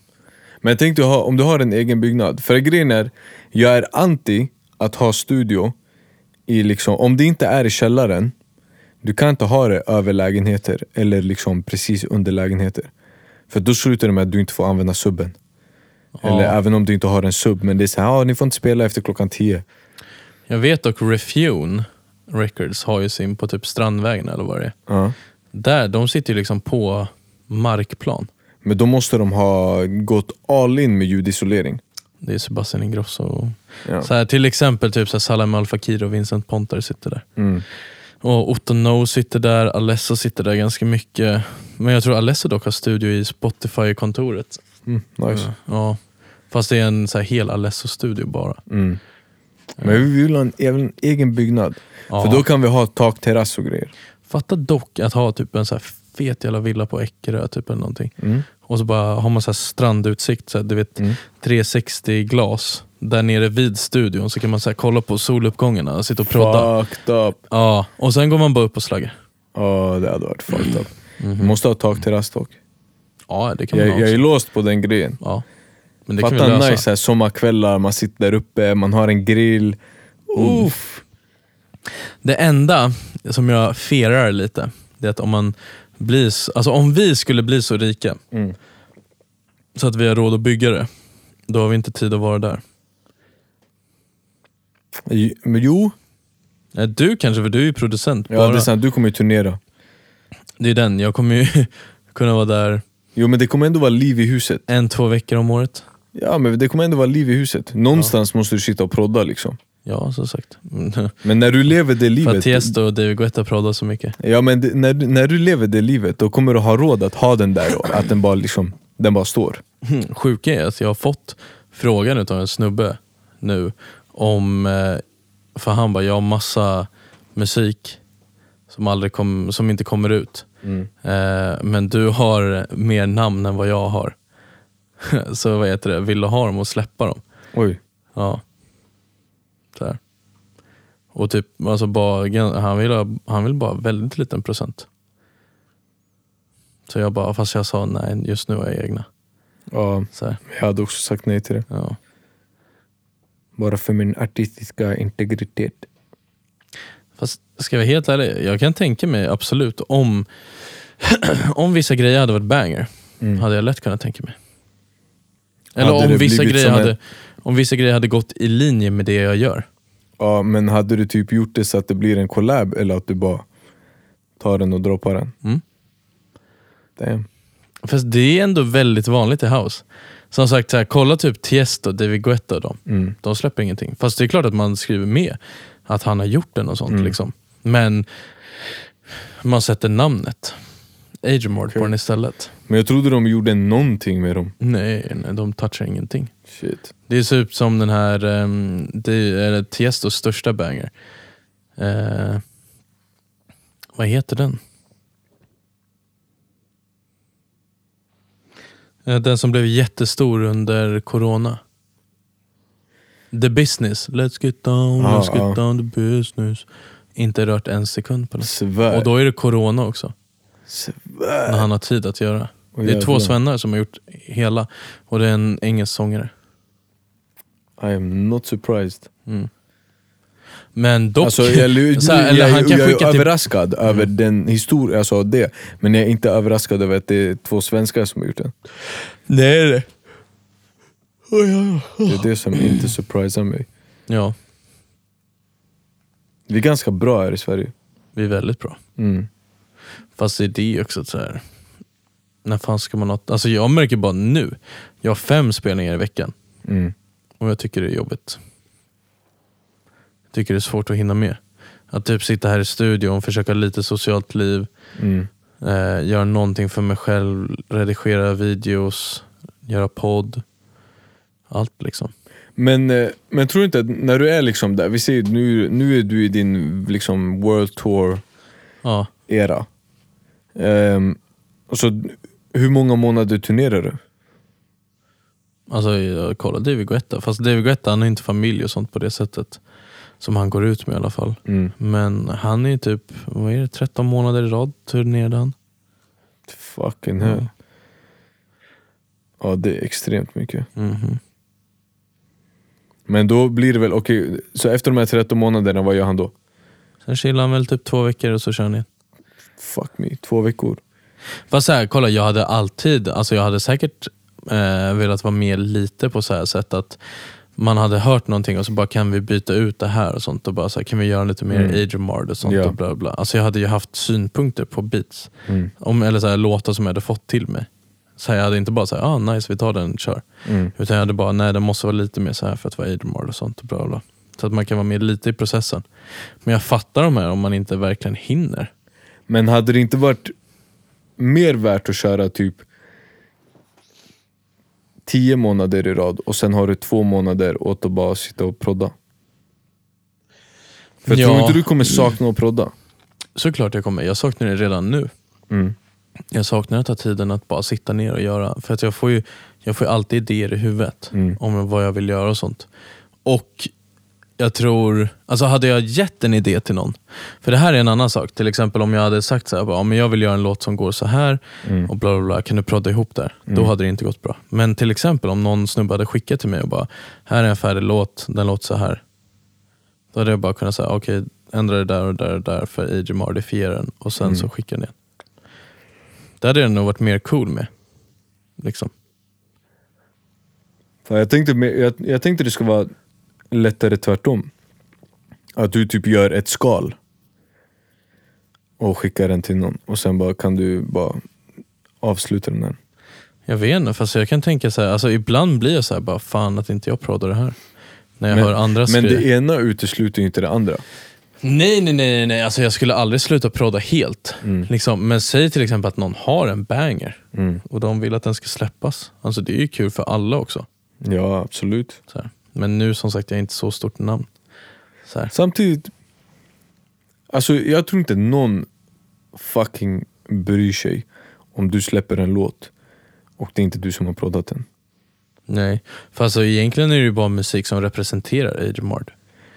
Speaker 4: Men tänk du ha, om du har en egen byggnad. För grejen är, jag är anti att ha studio i liksom, om det inte är i källaren, du kan inte ha det över lägenheter eller liksom precis under lägenheter. För då slutar det med att du inte får använda subben. Eller även om du inte har en sub, men det är såhär, ah, ni får inte spela efter klockan 10.
Speaker 3: Jag vet dock Refune Records har ju sin på typ Strandvägen eller vad det är.
Speaker 4: Ja.
Speaker 3: Där, de sitter ju liksom på markplan.
Speaker 4: Men då måste de ha gått all in med ljudisolering.
Speaker 3: Det är Sebastian Ingrosso. Och...
Speaker 4: Ja.
Speaker 3: Så här, till exempel typ så här, Salam Al Fakir och Vincent Pontare sitter där.
Speaker 4: Mm.
Speaker 3: Och Otto No sitter där, Alesso sitter där ganska mycket. Men jag tror Alesso dock har studio i Spotify-kontoret.
Speaker 4: Mm, nice.
Speaker 3: Ja. Fast det är en så här, hel Alesso-studio bara.
Speaker 4: Mm. Men vi vill ha en egen, egen byggnad.
Speaker 3: Ja.
Speaker 4: För då kan vi ha tak, terrass och grejer.
Speaker 3: Fatta dock att ha typ en så här fet jävla villa på Eckerö typ eller någonting.
Speaker 4: Mm.
Speaker 3: Och så bara har man så här strandutsikt, så här, du vet 360 glas där nere vid studion så kan man så här kolla på soluppgångarna och sitta och prodda.
Speaker 4: Fucked up!
Speaker 3: Ja, och sen går man bara upp och slaggar.
Speaker 4: Ja, det hade varit fucked up. Vi måste ha tak, terrass dock.
Speaker 3: Mhm. Ja, det kan
Speaker 4: Jag,
Speaker 3: man ha.
Speaker 4: jag är
Speaker 3: också.
Speaker 4: låst på den grejen.
Speaker 3: Ja. Men det kan vi
Speaker 4: Fatta
Speaker 3: lösa.
Speaker 4: nice så här, sommarkvällar, man sitter där uppe, man har en grill. Uff.
Speaker 3: Det enda som jag ferar lite, det är att om man blir, s- alltså om vi skulle bli så rika
Speaker 4: Mm.
Speaker 3: så att vi har råd att bygga det, då har vi inte tid att vara där.
Speaker 4: Jo- Men jo,
Speaker 3: Nej, Eh, Du kanske, för du är ju producent.
Speaker 4: ja,
Speaker 3: bara.
Speaker 4: det är sant, du kommer ju turnera.
Speaker 3: det är den, jag kommer ju <laughs> kunna vara där
Speaker 4: Jo men det kommer ändå vara liv i huset.
Speaker 3: en, två veckor om året.
Speaker 4: Ja men det kommer ändå vara liv i huset. Någonstans måste du sitta och prodda liksom.
Speaker 3: Ja, som sagt. <laughs> Mm.
Speaker 4: Men när du lever det
Speaker 3: För att
Speaker 4: livet,
Speaker 3: Tiesto och David Guetta proddar så mycket.
Speaker 4: ja, men det, när, du- när du lever det livet, då kommer du ha råd att ha den där och att den bara, liksom, den bara står.
Speaker 3: <clears throat> Sjuka är att jag har fått frågan utav en snubbe nu om, eh, för han bara, jag har massa musik som, aldrig kom, som inte kommer ut. Eh, Men du har mer namn än vad jag har. <laughs> Så vad heter det, vill du ha dem och släppa dem?
Speaker 4: Oj.
Speaker 3: Ja. Så här. Och typ, alltså bara, gan- han, vill ha, han vill bara ha väldigt liten procent. Så jag bara, fast jag sa nej, just nu har jag egna.
Speaker 4: Ja,
Speaker 3: Så här,
Speaker 4: jag hade också sagt nej till det.
Speaker 3: ja.
Speaker 4: Bara för min artistiska integritet.
Speaker 3: Fast ska jag vara helt ärlig, jag kan tänka mig absolut om, <clears throat> om vissa grejer hade varit banger, hade jag lätt kunnat tänka mig. Eller
Speaker 4: Mm. Hade
Speaker 3: om
Speaker 4: det
Speaker 3: vissa,
Speaker 4: blivit
Speaker 3: grejer
Speaker 4: som en-
Speaker 3: hade, om vissa grejer hade gått i linje med det jag gör.
Speaker 4: Ja, men hade du typ gjort det så att det blir en collab eller att du bara tar den och droppar den?
Speaker 3: Mm.
Speaker 4: Damn.
Speaker 3: Fast det är ändå väldigt vanligt i house. Som sagt, så här, kolla typ Tiesto, David Guetta och dem.
Speaker 4: Mm.
Speaker 3: De släpper ingenting. Fast det är klart att man skriver med att han har gjort den och
Speaker 4: Mm.
Speaker 3: sånt. Liksom. Men man sätter namnet. Agemord på den istället.
Speaker 4: Men jag trodde de gjorde någonting med dem.
Speaker 3: Nej, nej, de touchar ingenting.
Speaker 4: Shit.
Speaker 3: Det ser ut som den här, ehm, det är Tiestos största banger. Eh, vad heter den? Eh, Den som blev jättestor under corona. The business. Let's get down,
Speaker 4: Ja,
Speaker 3: let's get
Speaker 4: ja.
Speaker 3: down the business. Inte rört en sekund på den.
Speaker 4: Svär.
Speaker 3: Och då är det corona också,
Speaker 4: Svär.
Speaker 3: när han har tid att göra.
Speaker 4: Åh,
Speaker 3: det är två
Speaker 4: jävlar.
Speaker 3: svennar som har gjort hela, och det är en engelsk sångare.
Speaker 4: I am not surprised.
Speaker 3: Men dock...
Speaker 4: Alltså, jag,
Speaker 3: <laughs>
Speaker 4: lu-
Speaker 3: så här, eller
Speaker 4: jag,
Speaker 3: han kan
Speaker 4: jag är
Speaker 3: skicka till...
Speaker 4: överraskad över den historien, alltså det. Men jag är inte överraskad över att det är två svenskar som har gjort den.
Speaker 3: Nej, nej.
Speaker 4: Det är det som inte surprisar mig.
Speaker 3: Ja,
Speaker 4: Vi är ganska bra här i Sverige.
Speaker 3: vi är väldigt bra.
Speaker 4: Mm.
Speaker 3: Fast det är det också att så här. När fan ska man ha... Alltså jag märker bara nu. Jag har fem spelningar i veckan
Speaker 4: Mm.
Speaker 3: och jag tycker det är jobbigt. Jag tycker det är svårt att hinna med. Att typ sitta här i studion, försöka ha lite socialt liv,
Speaker 4: Mm.
Speaker 3: eh, göra någonting för mig själv, redigera videos, göra podd. Allt liksom.
Speaker 4: Men, eh, men tror du inte att när du är liksom där, vi säger nu, nu är du i din liksom world tour
Speaker 3: Ja,
Speaker 4: era. Ehm, och så, hur många månader turnerar du?
Speaker 3: Alltså jag kollar David Guetta, fast David Guetta han har inte familj och sånt på det sättet. Som han går ut med i alla fall.
Speaker 4: Mm.
Speaker 3: Men han är ju typ, vad är det, 13 månader i rad turnerade han. Mm.
Speaker 4: Fucking hell. Ja, det är extremt mycket.
Speaker 3: Mhm.
Speaker 4: Men då blir det väl, okej, så efter de här 13 månaderna, vad gör han då?
Speaker 3: Sen chillar han väl typ två veckor och så kör han igen.
Speaker 4: Fuck me, två veckor.
Speaker 3: Fast så här, kolla jag hade alltid, alltså jag hade säkert eh, velat vara med lite på så här sätt att man hade hört någonting och så bara kan vi byta ut det här och sånt och bara så här, kan vi göra lite mer
Speaker 4: Mm.
Speaker 3: mm. agemard och sånt
Speaker 4: Ja.
Speaker 3: och bla bla. Alltså jag hade ju haft synpunkter på beats.
Speaker 4: Mm.
Speaker 3: Om, eller så här, låtar som jag hade fått till mig. Så här, jag hade inte bara såhär, ah nice vi tar den, kör.
Speaker 4: Mm.
Speaker 3: Utan jag hade bara, nej den måste vara lite mer så här för att vara agemard och sånt och bla bla. Så att man kan vara med lite i processen. Men jag fattar de här om man inte verkligen hinner.
Speaker 4: Men hade det inte varit mer värt att köra typ 10 månader i rad och sen har du två månader åt att bara sitta och prodda? För jag
Speaker 3: Ja.
Speaker 4: tror inte du kommer sakna att prodda.
Speaker 3: Såklart jag kommer. Jag saknar det redan nu.
Speaker 4: Mm.
Speaker 3: Jag saknar att ta tiden att bara sitta ner och göra. För att jag får ju, jag får ju alltid idéer i huvudet
Speaker 4: Mm.
Speaker 3: om vad jag vill göra och sånt. Och jag tror, alltså hade jag gett en idé till någon. För det här är en annan sak. Till exempel om jag hade sagt så här, bara, "Ja, men jag vill göra en låt som går så här
Speaker 4: Mm.
Speaker 3: och bla bla bla. Kan du prodda ihop där? Då hade det inte gått bra. Men till exempel om någon snubbe hade skickat till mig och bara, här är en färdig låt, den låter så här. Då hade jag bara kunnat säga, okej ändra det där och där och där för AJ modifiera den och sen
Speaker 4: Mm.
Speaker 3: så skicka den igen. Det hade jag nog varit mer cool med. Liksom.
Speaker 4: Fan, jag, tänkte, mer- jag, jag tänkte det skulle vara lättare tvärtom. Att du typ gör ett skal och skickar den till någon och sen bara kan du bara avsluta den där.
Speaker 3: Jag vet inte, fast jag kan tänka så här, alltså ibland blir jag så här, bara fan att inte jag proddar det här. När jag hör andra
Speaker 4: men
Speaker 3: skriva.
Speaker 4: det ena utesluter ju inte det andra.
Speaker 3: Nej, nej, nej, nej, nej, alltså jag skulle aldrig sluta prodda helt.
Speaker 4: Mm.
Speaker 3: Liksom. Men säg till exempel att någon har en banger och de vill att den ska släppas. Alltså det är ju kul för alla också.
Speaker 4: Ja, absolut.
Speaker 3: Så här. Men nu som sagt, jag är inte så stort namn. Så här.
Speaker 4: Samtidigt, alltså jag tror inte någon fucking bryr sig om du släpper en låt och det är inte du som har proddat den.
Speaker 3: Nej, för alltså egentligen är det ju bara musik som representerar Agemard.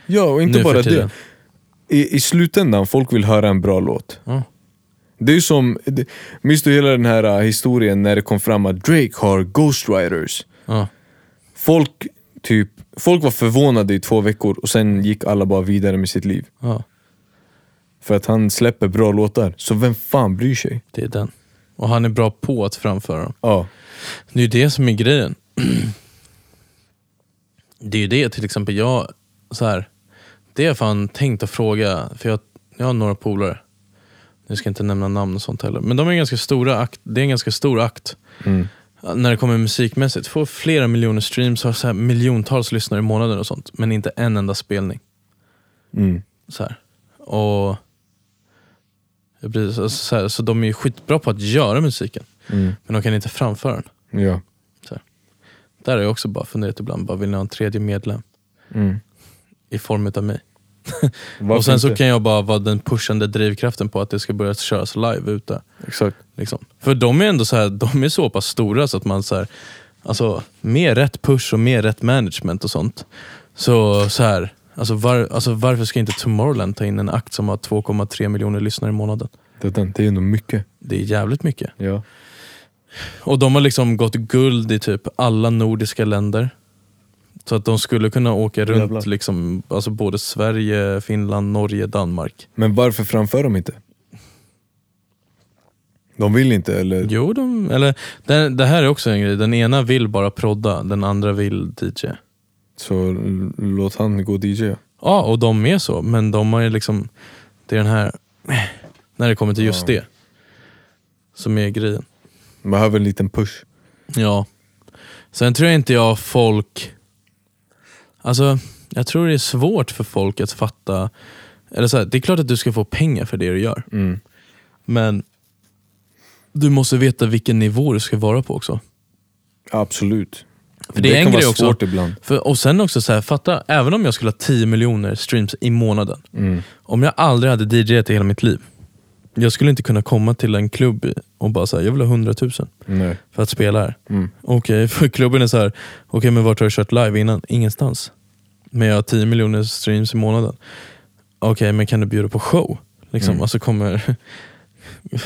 Speaker 4: Ja, och inte bara det. I, I slutändan, folk vill höra en bra låt.
Speaker 3: Ja.
Speaker 4: Det är ju som, det- minns du hela den här äh, historien när det kom fram att Drake har ghostwriters?
Speaker 3: Ja.
Speaker 4: Folk, typ, folk var förvånade i två veckor och sen gick alla bara vidare med sitt liv.
Speaker 3: ja,
Speaker 4: För att han släpper bra låtar, så vem fan bryr sig?
Speaker 3: det är den. Och han är bra på att framföra dem.
Speaker 4: Ja,
Speaker 3: Det är ju det som är grejen. <clears throat> Det är ju det till exempel jag, så här, det har jag fan tänkt att fråga, för jag, jag har några polare. Nu ska jag inte nämna namn och sånt heller, men de är ganska stora akt, det är en ganska stor akt
Speaker 4: Mm.
Speaker 3: när det kommer musikmässigt. Får flera miljoner streams, har så här miljontals lyssnare i månaden och sånt, men inte en enda spelning.
Speaker 4: mm.
Speaker 3: Så här. Och jag blir, så, så, här, så de är ju skitbra på att göra musiken,
Speaker 4: Mm.
Speaker 3: men de kan inte framföra den.
Speaker 4: ja.
Speaker 3: Där har jag också bara funderat ibland, bara vill ni ha en tredje medlem
Speaker 4: Mm.
Speaker 3: i form av mig?
Speaker 4: Varför
Speaker 3: <laughs> och sen så
Speaker 4: inte?
Speaker 3: kan jag bara vara den pushande drivkraften på att det ska börja köras live ute.
Speaker 4: Exakt.
Speaker 3: Liksom. För de är ändå så här, de är så pass stora så att man så här, alltså med rätt push och med rätt management och sånt. Så, så här, alltså, var, alltså varför ska inte Tomorrowland ta in en akt som har 2,3 miljoner lyssnare i månaden?
Speaker 4: Det är den. Det är ändå mycket.
Speaker 3: Det är jävligt mycket.
Speaker 4: Ja.
Speaker 3: Och de har liksom gått guld i typ alla nordiska länder. Så att de skulle kunna åka
Speaker 4: Jävlar.
Speaker 3: runt liksom, alltså både Sverige, Finland, Norge, Danmark.
Speaker 4: Men varför framför de inte? De vill inte eller?
Speaker 3: Jo, de, eller, det, det här är också en grej. Den ena vill bara prodda, den andra vill DJ.
Speaker 4: Så l- låt han gå och DJ.
Speaker 3: Ja, och de är så, men de har ju liksom, det är den här, när det kommer till just
Speaker 4: Ja.
Speaker 3: det, som är grejen.
Speaker 4: Behöver en liten push.
Speaker 3: Ja. Sen tror jag inte jag folk... Alltså, jag tror det är svårt för folk att fatta... Eller så här, det är klart att du ska få pengar för det du gör.
Speaker 4: Mm.
Speaker 3: Men du måste veta vilken nivå du ska vara på också.
Speaker 4: Absolut.
Speaker 3: För det är en
Speaker 4: kan
Speaker 3: grej
Speaker 4: vara
Speaker 3: också.
Speaker 4: svårt ibland.
Speaker 3: För, och sen också, så här, fatta, även om jag skulle ha 10 miljoner streams i månaden.
Speaker 4: Mm.
Speaker 3: Om jag aldrig hade DJat i hela mitt liv. Jag skulle inte kunna komma till en klubb och bara säga jag vill ha 100 000
Speaker 4: Nej.
Speaker 3: för att spela här.
Speaker 4: Mm.
Speaker 3: Okej, <laughs> för klubben är så här. okej men vart har du kört live innan? Ingenstans. Men jag har 10 miljoner streams i månaden. Okej, men kan du bjuda på show? Liksom,
Speaker 4: Mm.
Speaker 3: alltså kommer,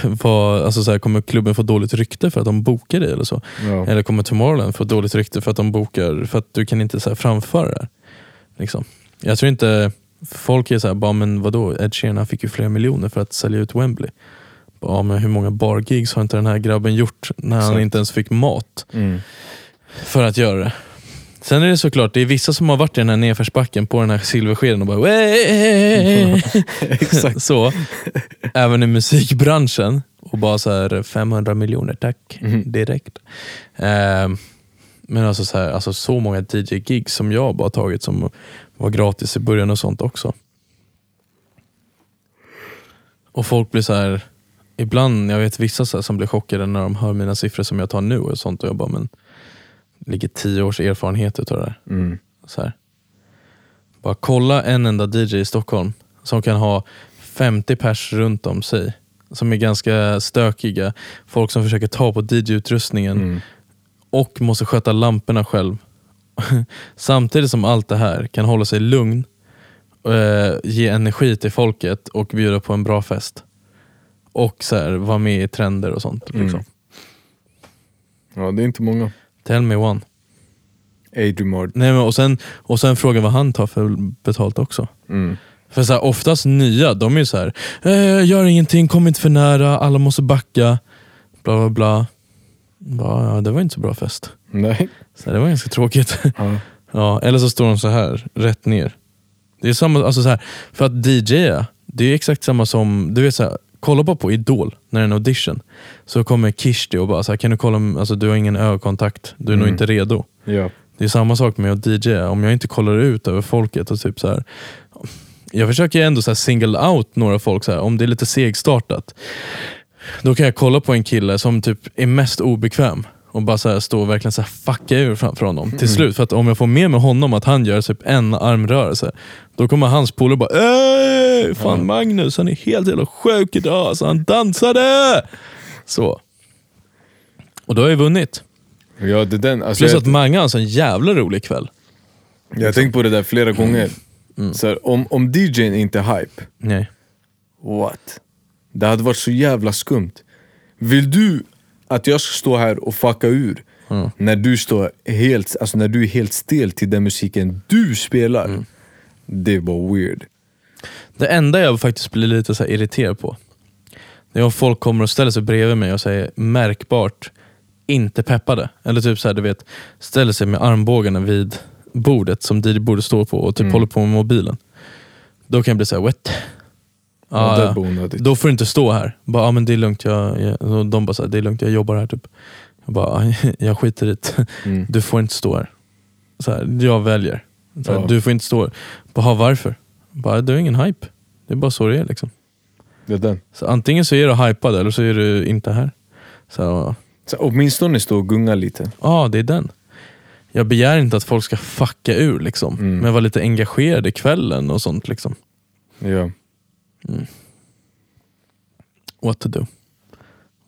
Speaker 3: <laughs> vad, alltså så här, kommer klubben få dåligt rykte för att de bokar dig eller så?
Speaker 4: Ja.
Speaker 3: Eller kommer Tomorrowland få dåligt rykte för att de bokar, för att du kan inte så här, framföra det här? Liksom. Jag tror inte, folk är såhär, bara men vadå, Ed Sheeran han fick ju flera miljoner för att sälja ut Wembley. Bara, Ja men hur många bargigs har inte den här grabben gjort när han
Speaker 4: Exakt.
Speaker 3: inte ens fick mat
Speaker 4: Mm.
Speaker 3: för att göra det? Sen är det såklart, det är vissa som har varit i den här nedförsbacken på den här silverskeden och bara "Wey!"
Speaker 4: Exakt.
Speaker 3: så, även i musikbranschen. Och bara så här 500 miljoner tack, direkt. Ehm, men alltså så, här, alltså så många DJ-gig som jag bara tagit som var gratis i början och sånt också. Och folk blir så här ibland, jag vet vissa så här, som blir chockade när de hör mina siffror som jag tar nu och sånt och jag bara, men det ligger tio års erfarenhet utav det där.
Speaker 4: Mm.
Speaker 3: Så här. Bara kolla en enda DJ i Stockholm som kan ha 50 pers runt om sig. Som är ganska stökiga. Folk som försöker ta på DJ-utrustningen
Speaker 4: Mm.
Speaker 3: och måste sköta lamporna själv. <laughs> Samtidigt som allt det här kan hålla sig lugn, eh, ge energi till folket och bjuda på en bra fest. Och så här, vara med i trender och sånt. Liksom.
Speaker 4: Mm. Ja, det är inte många.
Speaker 3: Tell me one.
Speaker 4: Adrian Mard.
Speaker 3: Nej, men och, sen, och sen fråga vad han tar för betalt också.
Speaker 4: Mm.
Speaker 3: För så här, oftast nya, de är ju så här, eh, gör ingenting, kom inte för nära, alla måste backa. Bla bla bla. Ja, ja, det var inte så bra fest.
Speaker 4: Nej.
Speaker 3: Så här, det var ganska tråkigt. <laughs>
Speaker 4: Ja.
Speaker 3: Ja, eller så står de så här, rätt ner. Det är samma, alltså så här, för att DJa, det är exakt samma som, du vet så här, kolla bara på Idol när det är en audition. Så kommer Kishti och bara, så här, kan du kolla, om- alltså, du har ingen ögonkontakt, du är nog
Speaker 4: Mm.
Speaker 3: inte redo.
Speaker 4: ja.
Speaker 3: Det är samma sak med att DJa, om jag inte kollar ut över folket och typ så här. Jag försöker ju ändå så här single out några folk, så här, om det är lite segstartat. Då kan jag kolla på en kille som typ är mest obekväm och bara så här stå och verkligen så här fucka ur framför honom till slut. För att om jag får med mig honom att han gör typ en armrörelse, då kommer hans polare bara "Ey, Fan Magnus, han är helt jävla sjuk idag, så han dansade! Så. Och då har jag vunnit.
Speaker 4: ja det är den. Alltså,
Speaker 3: Plus
Speaker 4: jag-
Speaker 3: att Mange har en sån jävla rolig kväll.
Speaker 4: Jag har tänkt på det där
Speaker 3: Mm.
Speaker 4: flera gånger. Så här, om, om DJn inte är hype,
Speaker 3: Nej.
Speaker 4: what? Det hade varit så jävla skumt. Vill du att jag ska stå här och fucka ur
Speaker 3: Mm.
Speaker 4: när, du står helt, alltså när du är helt stel till den musiken du spelar?
Speaker 3: Mm.
Speaker 4: Det är bara weird.
Speaker 3: Det enda jag faktiskt blir lite så här irriterad på, det är om folk kommer och ställer sig bredvid mig och säger märkbart inte peppade. Eller typ så här, du vet, ställer sig med armbågarna vid bordet som DJ borde stå på och typ håller på med mobilen. Då kan jag bli såhär, what? Ja,
Speaker 4: Ja, det
Speaker 3: Ah, ja.
Speaker 4: är bara onödigt.
Speaker 3: Då får du inte stå här. Bara, ja men det är lugnt. Jag, jag, och de bara, så här, det är lugnt, jag jobbar här typ. Jag bara, "Ja, <laughs> jag skiter i det.
Speaker 4: Mm.
Speaker 3: Du får inte stå här. Så här jag väljer. Så här,
Speaker 4: Ja.
Speaker 3: Du får inte stå här. Bara, varför? Bara, du är ingen hype. Det är bara så det är liksom.
Speaker 4: Det är den.
Speaker 3: Så antingen så är du hypad eller så är du inte här. Så här,
Speaker 4: Så här, åtminstone stå och gunga lite.
Speaker 3: Ja, det är den. Jag begär inte att folk ska fucka ur liksom.
Speaker 4: Mm.
Speaker 3: Men vara lite engagerade i kvällen och sånt liksom.
Speaker 4: Ja.
Speaker 3: What to do.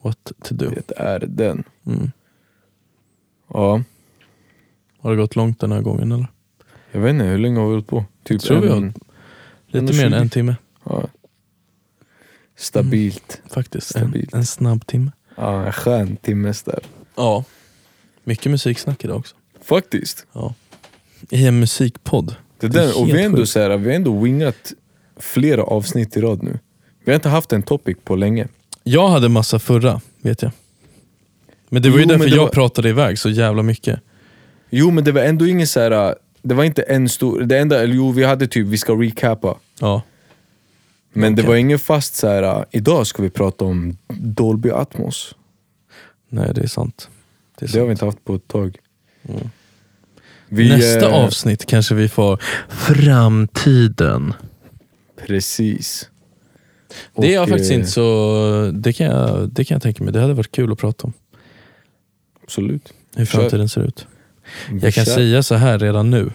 Speaker 3: What to do.
Speaker 4: Det är den.
Speaker 3: Mm.
Speaker 4: Ja,
Speaker 3: Har det gått långt den här gången eller?
Speaker 4: jag vet inte, hur länge har vi hållit på? Typ
Speaker 3: Tror vi har-
Speaker 4: en-
Speaker 3: Lite
Speaker 4: Men
Speaker 3: mer än
Speaker 4: 20.
Speaker 3: en timme
Speaker 4: ja. Stabilt.
Speaker 3: faktiskt. En,
Speaker 4: Stabilt.
Speaker 3: en snabb timme.
Speaker 4: Ja, en skön timmes där.
Speaker 3: Ja. Mycket musiksnack idag också.
Speaker 4: Faktiskt.
Speaker 3: Ja. I en musikpodd.
Speaker 4: Det
Speaker 3: Det är
Speaker 4: där, och vi
Speaker 3: helt
Speaker 4: har ändå,
Speaker 3: sjukt.
Speaker 4: så här, vi har ändå wingat flera avsnitt i rad nu. Vi har inte haft en topic på länge.
Speaker 3: Jag hade massa förra, vet jag. Men det var ju
Speaker 4: Jo, men
Speaker 3: därför
Speaker 4: det
Speaker 3: jag
Speaker 4: var-
Speaker 3: pratade iväg så jävla mycket.
Speaker 4: Jo men det var ändå ingen så här. det var inte en stor, det enda, eller jo vi hade typ vi ska recapa.
Speaker 3: Ja.
Speaker 4: Men det
Speaker 3: Okej.
Speaker 4: var ingen fast så här. idag ska vi prata om Dolby Atmos.
Speaker 3: Nej, det är sant. Det är
Speaker 4: Det har
Speaker 3: sant.
Speaker 4: vi inte haft på ett tag. Vi,
Speaker 3: Mm. Nästa
Speaker 4: eh,
Speaker 3: avsnitt kanske vi får framtiden.
Speaker 4: Precis.
Speaker 3: det är jag
Speaker 4: Och,
Speaker 3: faktiskt
Speaker 4: eh,
Speaker 3: inte så... Det kan, jag, det kan jag tänka mig. Det hade varit kul att prata om.
Speaker 4: Absolut.
Speaker 3: Hur
Speaker 4: Kör.
Speaker 3: framtiden ser ut. Jag kan
Speaker 4: Kör.
Speaker 3: säga så här redan nu.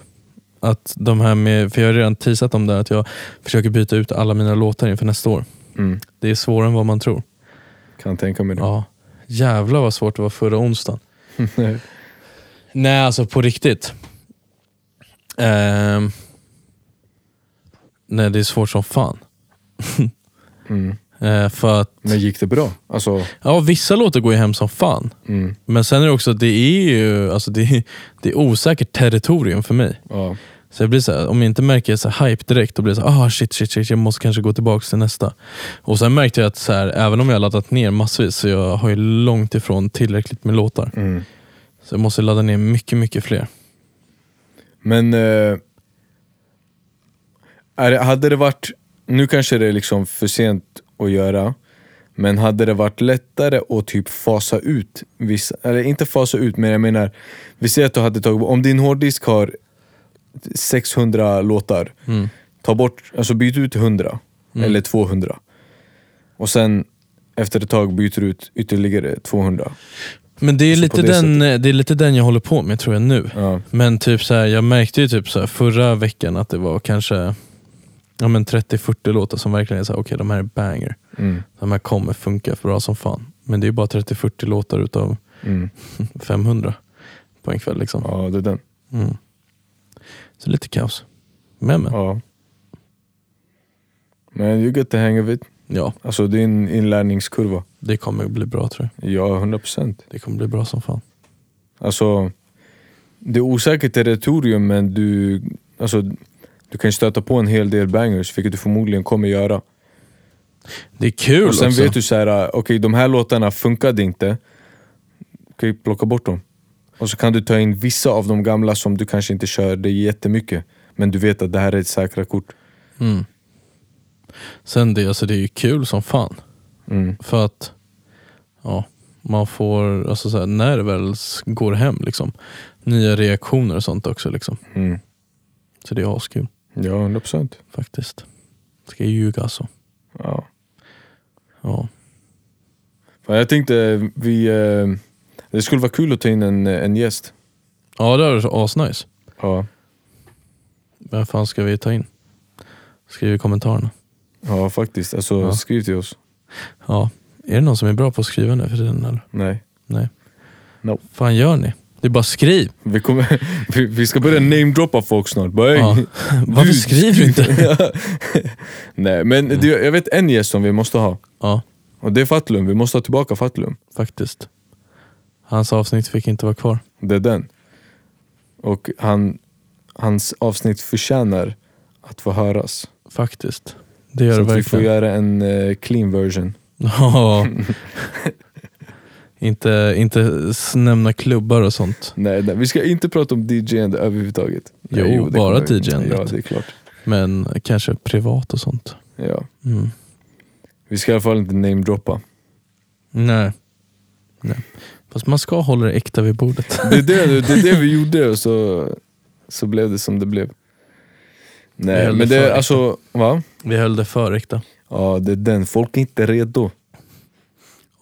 Speaker 3: Att de här med, för jag har redan teasat om det här, att jag försöker byta ut alla mina låtar inför nästa år.
Speaker 4: Mm,
Speaker 3: Det är svårare än vad man tror.
Speaker 4: kan tänka mig det.
Speaker 3: Ja. Jävlar vad svårt det var förra onsdagen. Nej, alltså på riktigt. Ehm. nej, det är svårt som fan.
Speaker 4: <laughs> Mm.
Speaker 3: Eh, för att,
Speaker 4: <laughs> Men gick det bra? Alltså,
Speaker 3: ja, vissa låtar går ju hem som fan.
Speaker 4: mm,
Speaker 3: Men sen är det också, det är ju alltså det är, det är osäkert territorium för mig.
Speaker 4: ja.
Speaker 3: Så jag blir så här, om jag inte märker så här hype direkt, då blir det så här, ah shit, shit, shit, jag måste kanske gå tillbaka till nästa. Och sen märkte jag att så här, även om jag har laddat ner massvis, så jag har ju långt ifrån tillräckligt med låtar.
Speaker 4: Mm.
Speaker 3: Så jag måste ladda ner mycket, mycket fler.
Speaker 4: Men eh, är, det- hade det varit, nu kanske det är liksom för sent att göra, men hade det varit lättare att typ fasa ut vissa, eller inte fasa ut men jag menar, vi säger att du hade tagit, om din hårddisk har 600 låtar, ta bort, alltså byt ut 100 eller 200 och sen efter ett tag byter du ut ytterligare 200.
Speaker 3: Men det är,
Speaker 4: Så
Speaker 3: lite
Speaker 4: Alltså, på det
Speaker 3: den, det är lite den jag håller på med tror jag nu.
Speaker 4: Ja.
Speaker 3: Men typ så här, jag märkte ju typ så här, förra veckan att det var kanske ja, men 30-40 låtar som verkligen är så här, okej de här är banger.
Speaker 4: Mm.
Speaker 3: De här kommer funka bra som fan. Men det är bara 30-40 låtar utav
Speaker 4: Mm.
Speaker 3: 500 på en kväll. Liksom.
Speaker 4: Ja, det är den.
Speaker 3: Mm. Så lite kaos. Men men,
Speaker 4: Ja. Men you get the hang of it.
Speaker 3: ja,
Speaker 4: Alltså det är en inlärningskurva.
Speaker 3: det kommer bli bra tror jag.
Speaker 4: Ja, 100%.
Speaker 3: Det kommer bli bra som fan.
Speaker 4: Alltså, det är osäkert territorium men du, alltså, du kan stöta på en hel del bangers, vilket du förmodligen kommer göra.
Speaker 3: Det är kul
Speaker 4: Och sen
Speaker 3: också.
Speaker 4: vet du så här, äh, okej de här låtarna funkade inte, okej plocka bort dem. Och så kan du ta in vissa av de gamla som du kanske inte körde jättemycket, men du vet att det här är ett säkra kort.
Speaker 3: Mm. Sen det, alltså det är ju kul som fan.
Speaker 4: Mm.
Speaker 3: För att ja, man får, alltså så här, när det väl s- går hem, liksom, nya reaktioner och sånt också. Liksom.
Speaker 4: Mm.
Speaker 3: Så det är askul
Speaker 4: Ja, 100%.
Speaker 3: faktiskt. Ska jag ljuga alltså.
Speaker 4: Ja.
Speaker 3: Ja.
Speaker 4: Fan, Jag tänkte vi, eh, det skulle vara kul att ta in en, en gäst.
Speaker 3: ja, det är så asnice.
Speaker 4: Ja.
Speaker 3: Vem fan ska vi ta in? Skriv i kommentarerna.
Speaker 4: Ja faktiskt, alltså
Speaker 3: Ja.
Speaker 4: skriv till oss.
Speaker 3: Ja. Är det någon som är bra på att skriva nu för tiden? Eller?
Speaker 4: Nej.
Speaker 3: Nej.
Speaker 4: No.
Speaker 3: fan gör ni? Det är bara skriv.
Speaker 4: Vi, kommer, <laughs> vi, vi ska börja namedroppa folk snart. Bara,
Speaker 3: Ja.
Speaker 4: <laughs> "Hey,
Speaker 3: <laughs> Varför
Speaker 4: du,
Speaker 3: skriver du inte?
Speaker 4: <laughs>
Speaker 3: Mm.
Speaker 4: Ja. Nej men det, jag vet en gäst som vi måste ha.
Speaker 3: Ja,
Speaker 4: Och det är Fatlum, vi måste ha tillbaka Fatlum.
Speaker 3: faktiskt. Hans avsnitt fick inte vara kvar.
Speaker 4: Det är den. Och han, hans avsnitt förtjänar att få höras.
Speaker 3: Faktiskt. Det gör
Speaker 4: Så
Speaker 3: det
Speaker 4: att vi får
Speaker 3: verkligen.
Speaker 4: göra en eh, clean version. <laughs>
Speaker 3: Ja. inte, inte s- nämna klubbar och sånt.
Speaker 4: Nej, nej, vi ska inte prata om DJ'ande överhuvudtaget.
Speaker 3: Jo,
Speaker 4: nej, det
Speaker 3: bara
Speaker 4: kommer vi-
Speaker 3: DJ-andet.
Speaker 4: Ja, det är klart.
Speaker 3: Men kanske privat och sånt.
Speaker 4: Ja.
Speaker 3: Mm.
Speaker 4: Vi ska i alla fall inte
Speaker 3: <laughs>
Speaker 4: namedroppa.
Speaker 3: Nej. Nej. Fast man ska hålla det äkta vid bordet.
Speaker 4: Det är det, det, är det vi gjorde och så, så blev det som det blev.
Speaker 3: Vi
Speaker 4: Nej
Speaker 3: höll
Speaker 4: men
Speaker 3: det för
Speaker 4: det, alltså, va?
Speaker 3: Vi höll det för äkta.
Speaker 4: Ja det är den, folk är inte redo.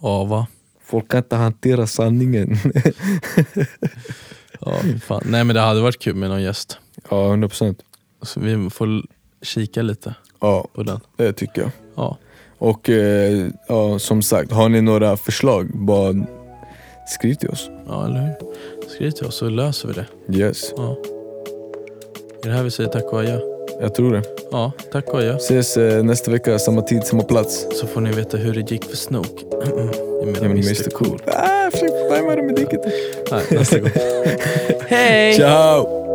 Speaker 3: Ja, va?
Speaker 4: Folk kan inte hantera sanningen. <laughs>
Speaker 3: Ja, fy fan. Nej men det hade varit kul med någon gäst.
Speaker 4: Ja, 100%.
Speaker 3: Så vi får l- kika lite
Speaker 4: Ja,
Speaker 3: på den.
Speaker 4: det tycker jag.
Speaker 3: Ja,
Speaker 4: Och eh, ja, som sagt, har ni några förslag, bara skriv till oss.
Speaker 3: ja eller hur? Skriv till oss så löser vi det.
Speaker 4: Yes,
Speaker 3: Ja. Är det här vi säger tack och adjö?
Speaker 4: jag tror det.
Speaker 3: Ja, tack och adjö.
Speaker 4: Ses eh, nästa vecka, samma tid, samma plats.
Speaker 3: Så får ni veta hur det gick för Snook. Jag menar
Speaker 4: Ja, men
Speaker 3: Mr
Speaker 4: Mr
Speaker 3: Cool.
Speaker 4: Cool. Ah, jag försökte tajma det med diket.
Speaker 3: Nej, nästa gång. Hej!
Speaker 4: Ciao!